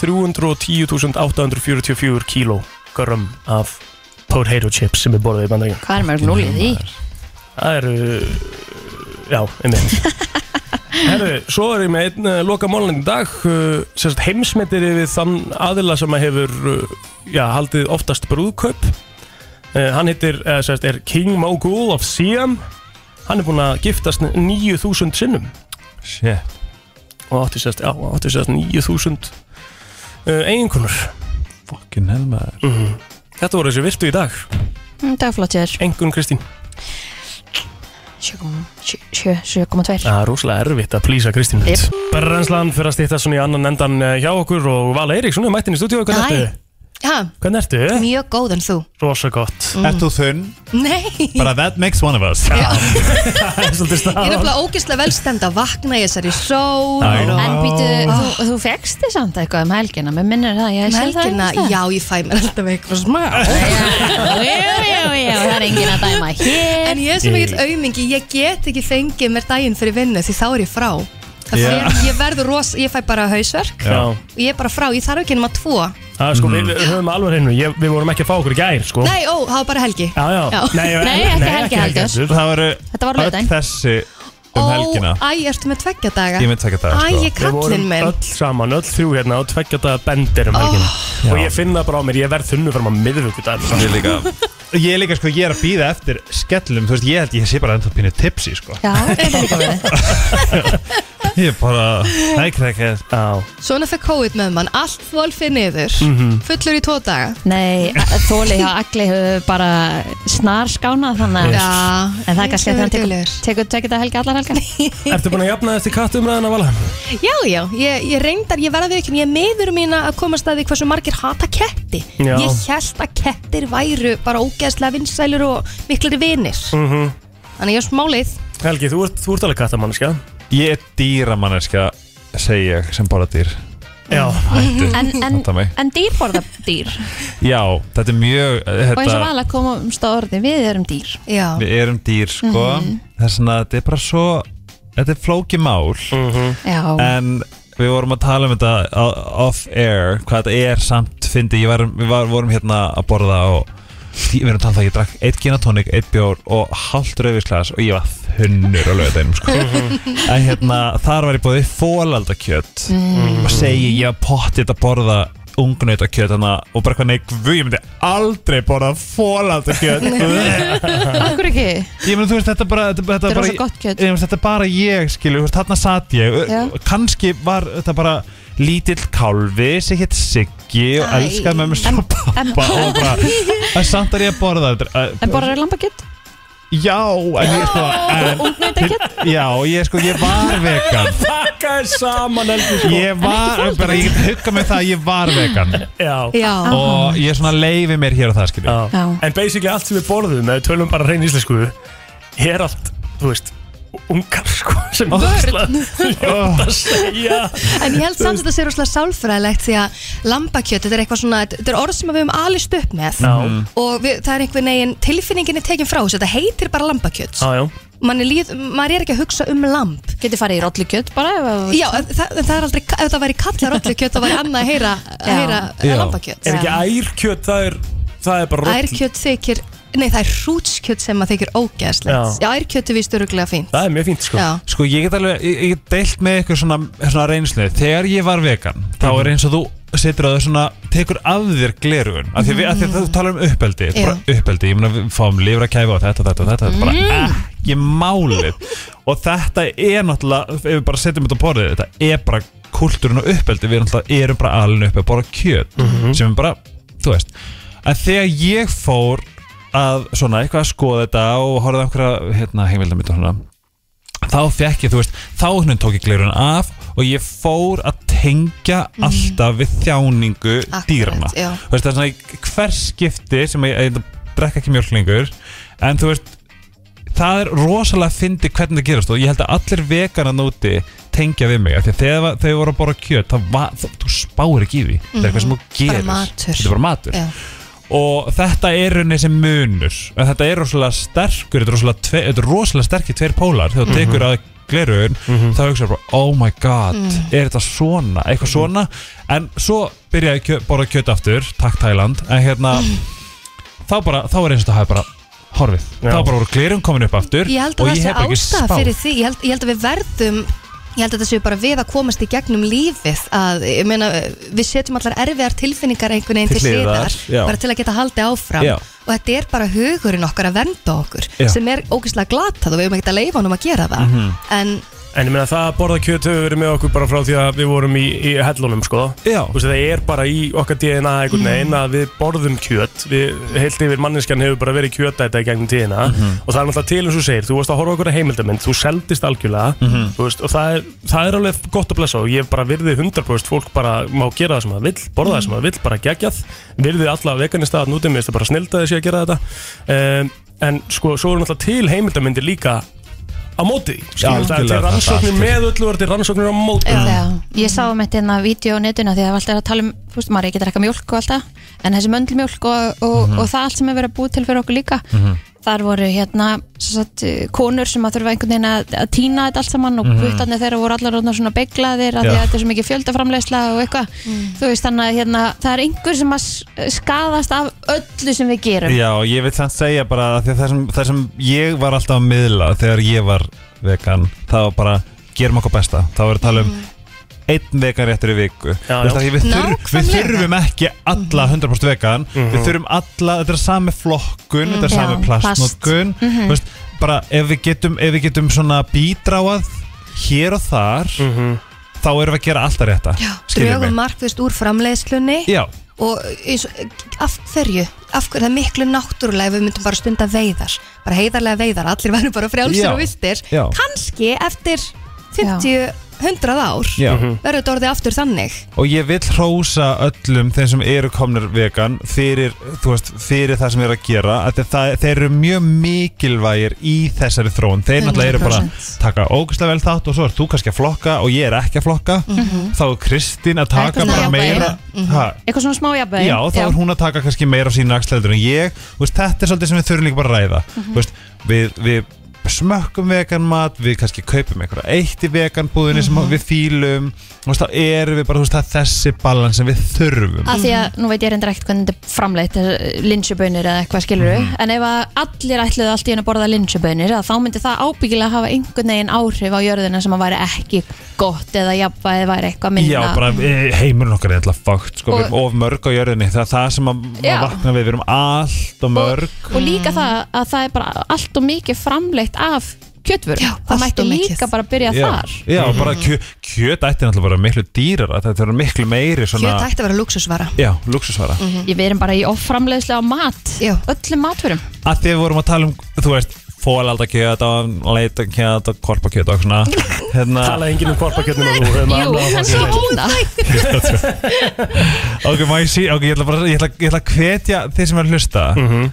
310.844 kíló grömm af potato chips sem er borðað í bandaríkjum
Hvað er mörg núl í því?
Það eru Já, einmitt Herru, svo er ég með einn uh, loka málinn í dag uh, sem sagt heimsmyndir yfir þann aðila sem að hefur uh, já, haldið oftast brúðkaup uh, hann heitir, uh, sem sagt, er King Mogul of Siam hann er búinn að giftast 9000 sinnum
Shit
og átti sérst, já, átti sérst 9000 uh, eiginkonur
Fucking hell maður
mm Þetta voru þessi virtu í dag
Mm, Dagflott ég er
Engun Kristín
7,2
Það er rosalega erfitt að plýsa Kristín yep. Brennslan fyrir að stýta svona í annan endan eh, hjá okkur og Vala Eiríksson er mættin í stúdíu Hvernig
Hæ.
ertu?
Já,
Hvernig ertu?
mjög góð en þú
Rosa gott
Mm. Ert þú
þunn?
Nei,
Bara that makes one of us
Það er svolítið
ég er
staðan
nefnilega ógeðslega velstend að vakna í þessari sól
I know.
En býtu, þú, þú fegst þið samt eitthvað um helgina Mér minnir það, ég
Um
sé það
helgina,
einhvers staðar.
já ég fæ mér alltaf eitthvað smá
Já, já, já, það er enginn að dæma hér
En ég er svo mikill aumingi, ég get ekki fengið mér daginn fyrir vinnu því þá er ég frá Það
Já.
fer, ég verður ros, ég fæ bara hausverk
Já.
og ég er bara frá, ég þarf ekki nema tvo
að, sko, við, við höfum alveg hennu, ég, við vorum ekki að fá okkur í gær sko.
Nei, ó, það var bara helgi
Já, já,
Nei, ekki helgi heldur
Það var eh,
Þetta var laugardaginn.
öll þessi um helgina
Ó, æ, ertu með tveggja daga
Ég er með tveggja daga,
Æ,
sko.
ég kallinn
Við
minn
vorum öll saman, öll þrjú hérna og tveggja daga bendir um helgina Og ég finn það bara á mér, ég verð þunnu fram að miðvöku dag
Ég líka. Ég er líka sko, ég er að býða eftir skellum Þú veist, ég held ég sé bara ennþá pínu tipsi sko
Já, þetta líka verið
Ég er bara, hæk, hæk, hæk
Svona fer COVID með mann, allt fólk fyrir niður
Mhm.
Fullur í tvo daga
Nei, þóli hjá Agli hefur bara snar skánað þannig að-
Já,
En það er kannski
ég
að
sé
hann
verið
tekur, tekur tekið það helgi allar helgi
Ertu búin að jafna þessi kattumræðan að vala?
Já, já, ég, ég reyndar, ég verða við ekki Ég er meður mín að komast að því hversu margir hata ketti
Já.
Ég held að kettir væru bara ógeðslega vinsælir og miklari vinir
Mhm.
Þannig ég er smálið
Helgi, þú ert, þú ert alveg kattamanniska
Ég er dýramanneska, segi ég, sem bara dýr
Já,
hættu,
En, en,
fatta mig
en dýr borða dýr
Já, þetta er mjög
Og eins og
þetta,
vala komast á orði, við erum dýr
Já
Við erum dýr, sko
Mhm.
Þess vegna, þetta er bara svo Þetta er flókið mál
Já.
En við vorum að tala um þetta á- Off-air, hvað þetta er samt Fyndi, ég var, við var, vorum hérna að borða Og við erum talað það, ég drakk Eitt ginatónik, eitt bjór og hálft rauðvísglas Og ég var þunnur á lögadeinum, sko
Mhm.
En hérna, þar var ég búið Fólaldakjöt
Mhm.
Mm.
Og segi ég að pottið að borða ungnautakjöt hana og bara hvað nei, guð, ég myndi aldrei borða fólaldakjöt
Akkur ekki
Ég meina, þú veist, þetta bara Þetta, þetta
Þetta er
bara,
rosa gott kjöt.
Ég meina, þetta er bara ég, skilju, þú veist, þarna satt ég
Já.
Kanski var þetta bara lítill kálfi sem hétt Siggi og
Æ.
elskaði með mér svo pappa og bara, en samt er ég að borða þetta eh,
En borðar er lambakjöt?
Já, en ég sko en, Já, ég sko, ég var vegan
Pakkaði saman Helgi
Ég var, bara, ég get huggað með það að ég var vegan
Já.
Já.
Og ég svona leifi mér hér og það, skilju
Já. En basically allt sem við borðum, ef við tölum bara hrein íslensku Er allt, þú veist, ungar sko Sem
Vörn.
Ljótt að segja
En ég held samt að þetta sé rosalega sálfræðilegt því að lambakjöt, þetta er eitthvað svona þetta er orð sem við höfum alist upp með
Já.
Mm.
og við, það er einhvern veginn, tilfinningin er tekin frá þessu, þetta heitir bara lambakjöt
Já, já
Man er, líð, maður er ekki að hugsa um lamb
Getur farið í rollukjöt bara ef,
Já, en það, en það er aldrei, ef það væri kallar rollukjöt þá væri annað að heyra, að heyra
Já.
lambakjöt
Er ekki ærkjöt, það er, það er bara roll-
Ærkjöt þykir, nei það er hrútskjöt sem maður þykir ógeðslegt Já,
Já.
ærkjöt er vist öruglega fínt
Það er mjög fínt,
Já.
Sko ég get alveg, ég, ég get deilt með ykkur svona, svona reynslu Þegar ég var vegan, þá er eins og þú setur á þau svona, tekur af þér glerugun af því, við, af því að þú talar um uppeldi
Já.
bara uppeldi, ég meina við fáum lifra kæfa og þetta, þetta, þetta, þetta, bara "Ah,
Mm.
ekki málið og þetta er náttúrulega, ef við bara setjum þetta á borðið þetta er bara kultúrin og uppeldi við náttúrulega erum bara alveg upp að borða kjöt sem er bara, þú veist að þegar ég fór að svona eitthvað að skoða þetta og horfði á einhverja, hérna, heimildamitt og svona þá fekk ég, þú veist, þá henni tók ég glerun af og ég fór að tengja alltaf við þjáningu
Mhm. Akkurat,
dýrana.
já.
Þú veist, það er svona í hver skipti sem ég, ég, ég drekka ekki mjölk lengur, en þú veist, það er rosalega að fyndi hvernig það gerast og ég held að allir veganar núti tengja við mig, af því að þegar þau voru að borða kjöt, það var, þú, þú spáir ekki í því, það er eitthvað sem þú
Mhm. Bara
gerir,
matur.
þetta er bara matur
Já.
og þetta er rauninni sem munur en þetta er rosalega sterkur þetta er rosalega, tve, þetta er rosalega sterkir tveir pólar þegar þú
Mhm.
tekur að glerugun
Mhm.
þá hugsaðu bara, oh my god,
Mm.
er þetta svona eitthvað svona, en svo byrja ég að kjö- borða kjöt aftur, takk Tæland en hérna, þá bara þá er eins og þetta hafi bara horfið þá bara voru glerun komin upp aftur
Ég held
og
að það
ég
sé
hef bara ekki
ástæða
spáð.
fyrir því ég held, ég held að við verðum Ég held að þetta séu bara við að komast í gegnum lífið að, ég meina, við setjum allar erfiðar tilfinningar einhvern veginn til,
Til hliðar,
hliðar
já.
bara til að geta haldið áfram
Já.
og þetta er bara hugurinn okkar að vernda okkur
Já.
sem er ógeðslega glatað og við höfum ekkert að leifa honum að gera það
Mhm.
en
En ég meina það að borða kjöt hefur verið með okkur bara frá því að við vorum í, í hellunum sko
Já
Þú veist það er bara í okkar DNA einhvern veginn að við borðum kjöt Við heilt yfir manneskjan hefur bara verið kjötæta í gegnum tíðina
Mhm.
Og það er náttúrulega til eins og þú segir, þú varst að horfa okkur að heimildamind, þú seldist algjörlega
Mhm.
Þú veist og það er, það er alveg gott að blessa og ég bara virði 100% fólk bara má gera það sem það vill, borða það sem það vill, bara geggjað Virði alla veganista að nútum, ég veist það bara snilda þessi að gera þetta um, En sko, svo eru náttúrulega til heimildamindir líka á móti því, skilur, það er til
algjörlega,
rannsóknir
þetta er
með öllu og til rannsóknir á móti
Já, ég sá um þetta hérna vídeo á netinu því að það var alltaf að tala um, þú veist, maður ekki að drekka mjólk og alltaf en þessi möndlmjólk og, og,
Mhm.
Mhm.
og það allt sem er verið að búið til fyrir okkur líka Þar voru hérna sem sagt, eh, konur sem að þurfa einhvern veginn að, að týna þetta allt saman og
Mhm.
mm. puttarnir þeirra voru allar orðnar svona beglaðir að því að
Já.
þetta er svo mikið fjöldaframleysla og eitthvað þú veist þannig að hérna, það er einhver sem að s- skaðast af öllu sem við gerum
Já, ég vil samt segja bara að því að það sem, það sem ég var alltaf að miðla þegar ég var vegan það var bara, gerum okkur besta þá var að tala
Mhm.
um einn vegan réttur í viku já,
já.
Að, við, þurf, við
Nákvæmlega. Mhm.
þurfum ekki alla 100% vegan við þurfum alla, þetta er sami flokkun þetta er
Mhm.
sami
Já,
plastnotkun
plast. Mhm.
Þú veist, bara ef við getum, ef við getum svona bídráað hér og þar þá erum við að gera alltaf rétta já,
drögum markvist úr framleiðslunni
Já.
og eins, og- af hverju af hverju, það er miklu náttúrulega ef við myndum bara stunda veiðar, bara heiðarlega veiðar allir væru bara frjálsir
Já.
og viltir
Já.
kannski eftir 50, 100 ár
Já. Mhm.
verður þetta orðið aftur þannig
og ég vil hrósa öllum þeim sem eru komnir vegan fyrir, þú veist, fyrir það sem eru að gera af því að það, þeir eru mjög mikilvægir í þessari þróun þeir náttúrulega eru bara að
100%.
taka ógæslega vel þátt og svo er þú kannski að flokka og ég er ekki að flokka
Mhm.
þá er Kristín að taka
Eitthvað
bara
svona jafnvægi.
meira
Mhm.
ha,
eitthvað svona smá jafnvægi
Já, þá er hún að taka kannski meira á sína axlæður en ég, þú veist, þetta er svolítið sem við þurfum líka bara að ræða
Mhm.
Þú veist, við, við smökkum vegan mat, við kannski kaupum einhverja eitt í veganbúðinni
Mhm.
sem við fýlum þú veist, þá erum við bara, þú veist, það er þessi balans sem við þurfum
að því að, nú veit ég reyndar ekkert hvernig þetta er framleitt linsjubönir eða eitthvað skilur
Mhm.
en ef að allir ætluðu allt í henni að borða linsjubönir þá myndi það ábyggilega hafa einhvern veginn áhrif á jörðina sem að væri ekki gott eða jafnvæði væri eitthvað minna
Já, bara eh, heimurinn okkar er alltaf fakt, sko, við
Og-
erum of mörg á jörðinni, það er það sem að
Já.
maður vakna við, við erum allt og mörg
og
Mm.
líka það að það er bara allt og mikið framleitt af kjötvörum Já, það mætti líka bara byrja
já,
þar
Já, bara kjö, kjöt ætti náttúrulega bara miklu dýrar, þetta er miklu meiri svona,
kjöt ætti að vera luxusvara
Já, luxusvara
Ég Mhm. við erum bara í offramleiðslega á mat
Já.
öllum matvörum
að því við vorum að tala um, þú veist fólaldakjöt og leitakjöt og korpakjöt og svona hérna,
Talaði enginn um korpakjötnum og þú höfum
Jú, hann sé ekki um það
ok, má ég sí, ok, ég ætla bara ég ætla, ég ætla að hvetja þið sem er að hlusta
Mhm.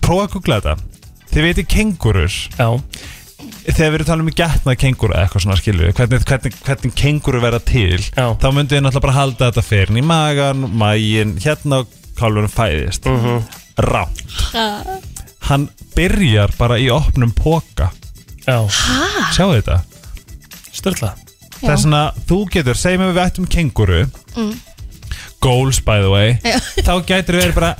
prófa að googla þetta þið veitir kengurur
Já.
þegar við erum talað um gætnað kenguru eða eitthvað svona skilju, hvernig, hvernig, hvernig kenguru verða til, Já. þá myndum við náttúrulega bara halda þetta fyrir í magan, magin hérna og kálunum fæðist mm
Mhm.
-hmm. rátt hann byrjar bara í opnum póka
Já
Ah.
Hæ? Sjáu þetta?
Störla
Já.
Það er svona, þú getur, segjum við við ættum kenguru
mm.
Goals by the way
Já.
Þá gætur við verið bara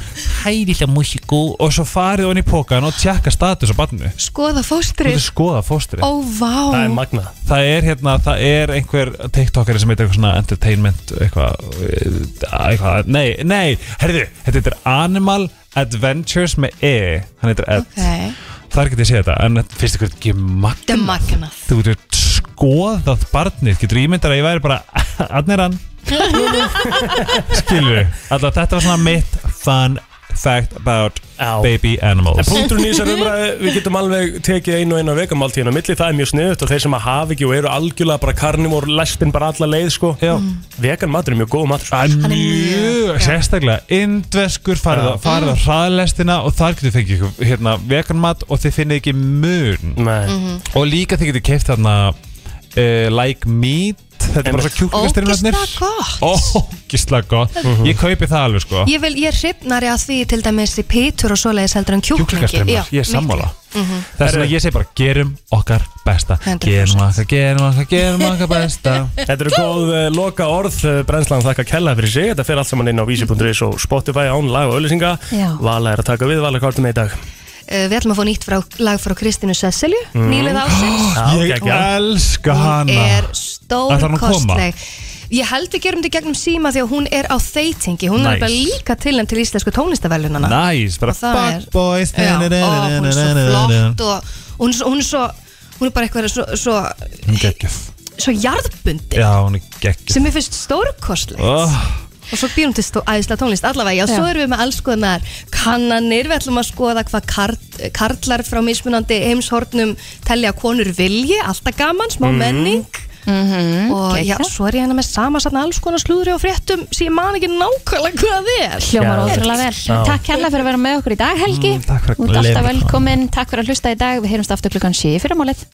Hæðilega músiku Og svo farið hon í pókan og tjekka status á barnu
goða
Þú
fóstri
getur skoða fóstri
ó vá
magna
Það er hérna, það er einhver tiktokari sem heitir eitthvað svona entertainment eitthvað, eh, eitthvað, nei, nei Herðu, þetta heitir Animal Adventures með E Hann heitir Ed
okay.
Þar get ég séð þetta, en finnst ykkur þetta ekki magna?
magnað
Þú getur skoðað barnið, getur ímyndar að ég væri bara Þannig er hann, skilur Alltaf þetta var svona mitt fun fact about baby animals
En punkturinn í þessar umræðu, við getum alveg tekið einu og einu vegamáltíðin á milli, það er mjög sniðut og þeir sem að hafa ekki og eru algjörlega bara karnivór, lestin bara alla leið sko
Já.
Vegan matur er mjög góð matur
Hann er mjög, sérstaklega indveskur, farið,
Já.
á- farið á hraðlestina og þar getur þið fengið ykkur, hérna, veganmat og þið finnið ekki mun
Mhm.
og líka þið getur keift þarna uh, like meat þetta er bara svo kjúklingastrinnarnir
Ógeðslega gott.
ógislega gott
Mhm.
ég kaupi það alveg sko
ég, vil, ég hrifnari að því til dæmis í pítur og svoleiðis heldur en kjúklingi
kjúklingastrinnur,
Já,
ég er sammála
miklu. Mhm.
það er svona ég segi bara gerum okkar besta gerum okkar, gerum okkar, gerum okkar besta
Þetta eru góð uh, loka orð, uh, brennslan þakka kella fyrir sig, þetta fer allt saman inn á vísi.is og Spotify án lag og auðlýsinga
Já.
Vala er að taka við, Vala, hvað ertu með í dag?
Uh, við ætlum að fá nýtt frá, lag frá Kristínu Cecilju mm. nýlið ásins
Já,
ég
geggjað.
elska hana
er
Ætlar hún að koma?
stórkostleg ég held við gerum þetta í gegnum síma því að hún er á þeitingi, hún
Nice.
er bara líka tilnæm til íslensku tónlistavælunana
Næs, bara
og það er,
bad boys
já, ó, hún er svo flott og hún er svo, hún er svo hún er bara eitthvað svo, svo,
hún er geggjöf
svo jarðbund
já, hún er geggjöf
sem ég finnst stórkostleg
Ah.
og svo býrum til stó- æðislega tónlist allavega, já, svo erum við með alls konar kannanir, við ætlum að skoða hvað karl, karlar frá mismunandi heimshornum telja að konur vilji alltaf gaman, smá
Mhm.
menning og já, svo er ég hérna með samansatna alls konar slúðri og fréttum sem ég man ekki nákvæmlega hvað það er
Hljómar ótrúlega vel. Takk hérna fyrir að vera með okkur í dag Helgi.
Mm, takk fyrir að
Þú ert alltaf
leyfa mér það.
velkominn. Takk fyrir að hlusta í dag. Við heyrumst aftur klukkan 7 fyrir málið.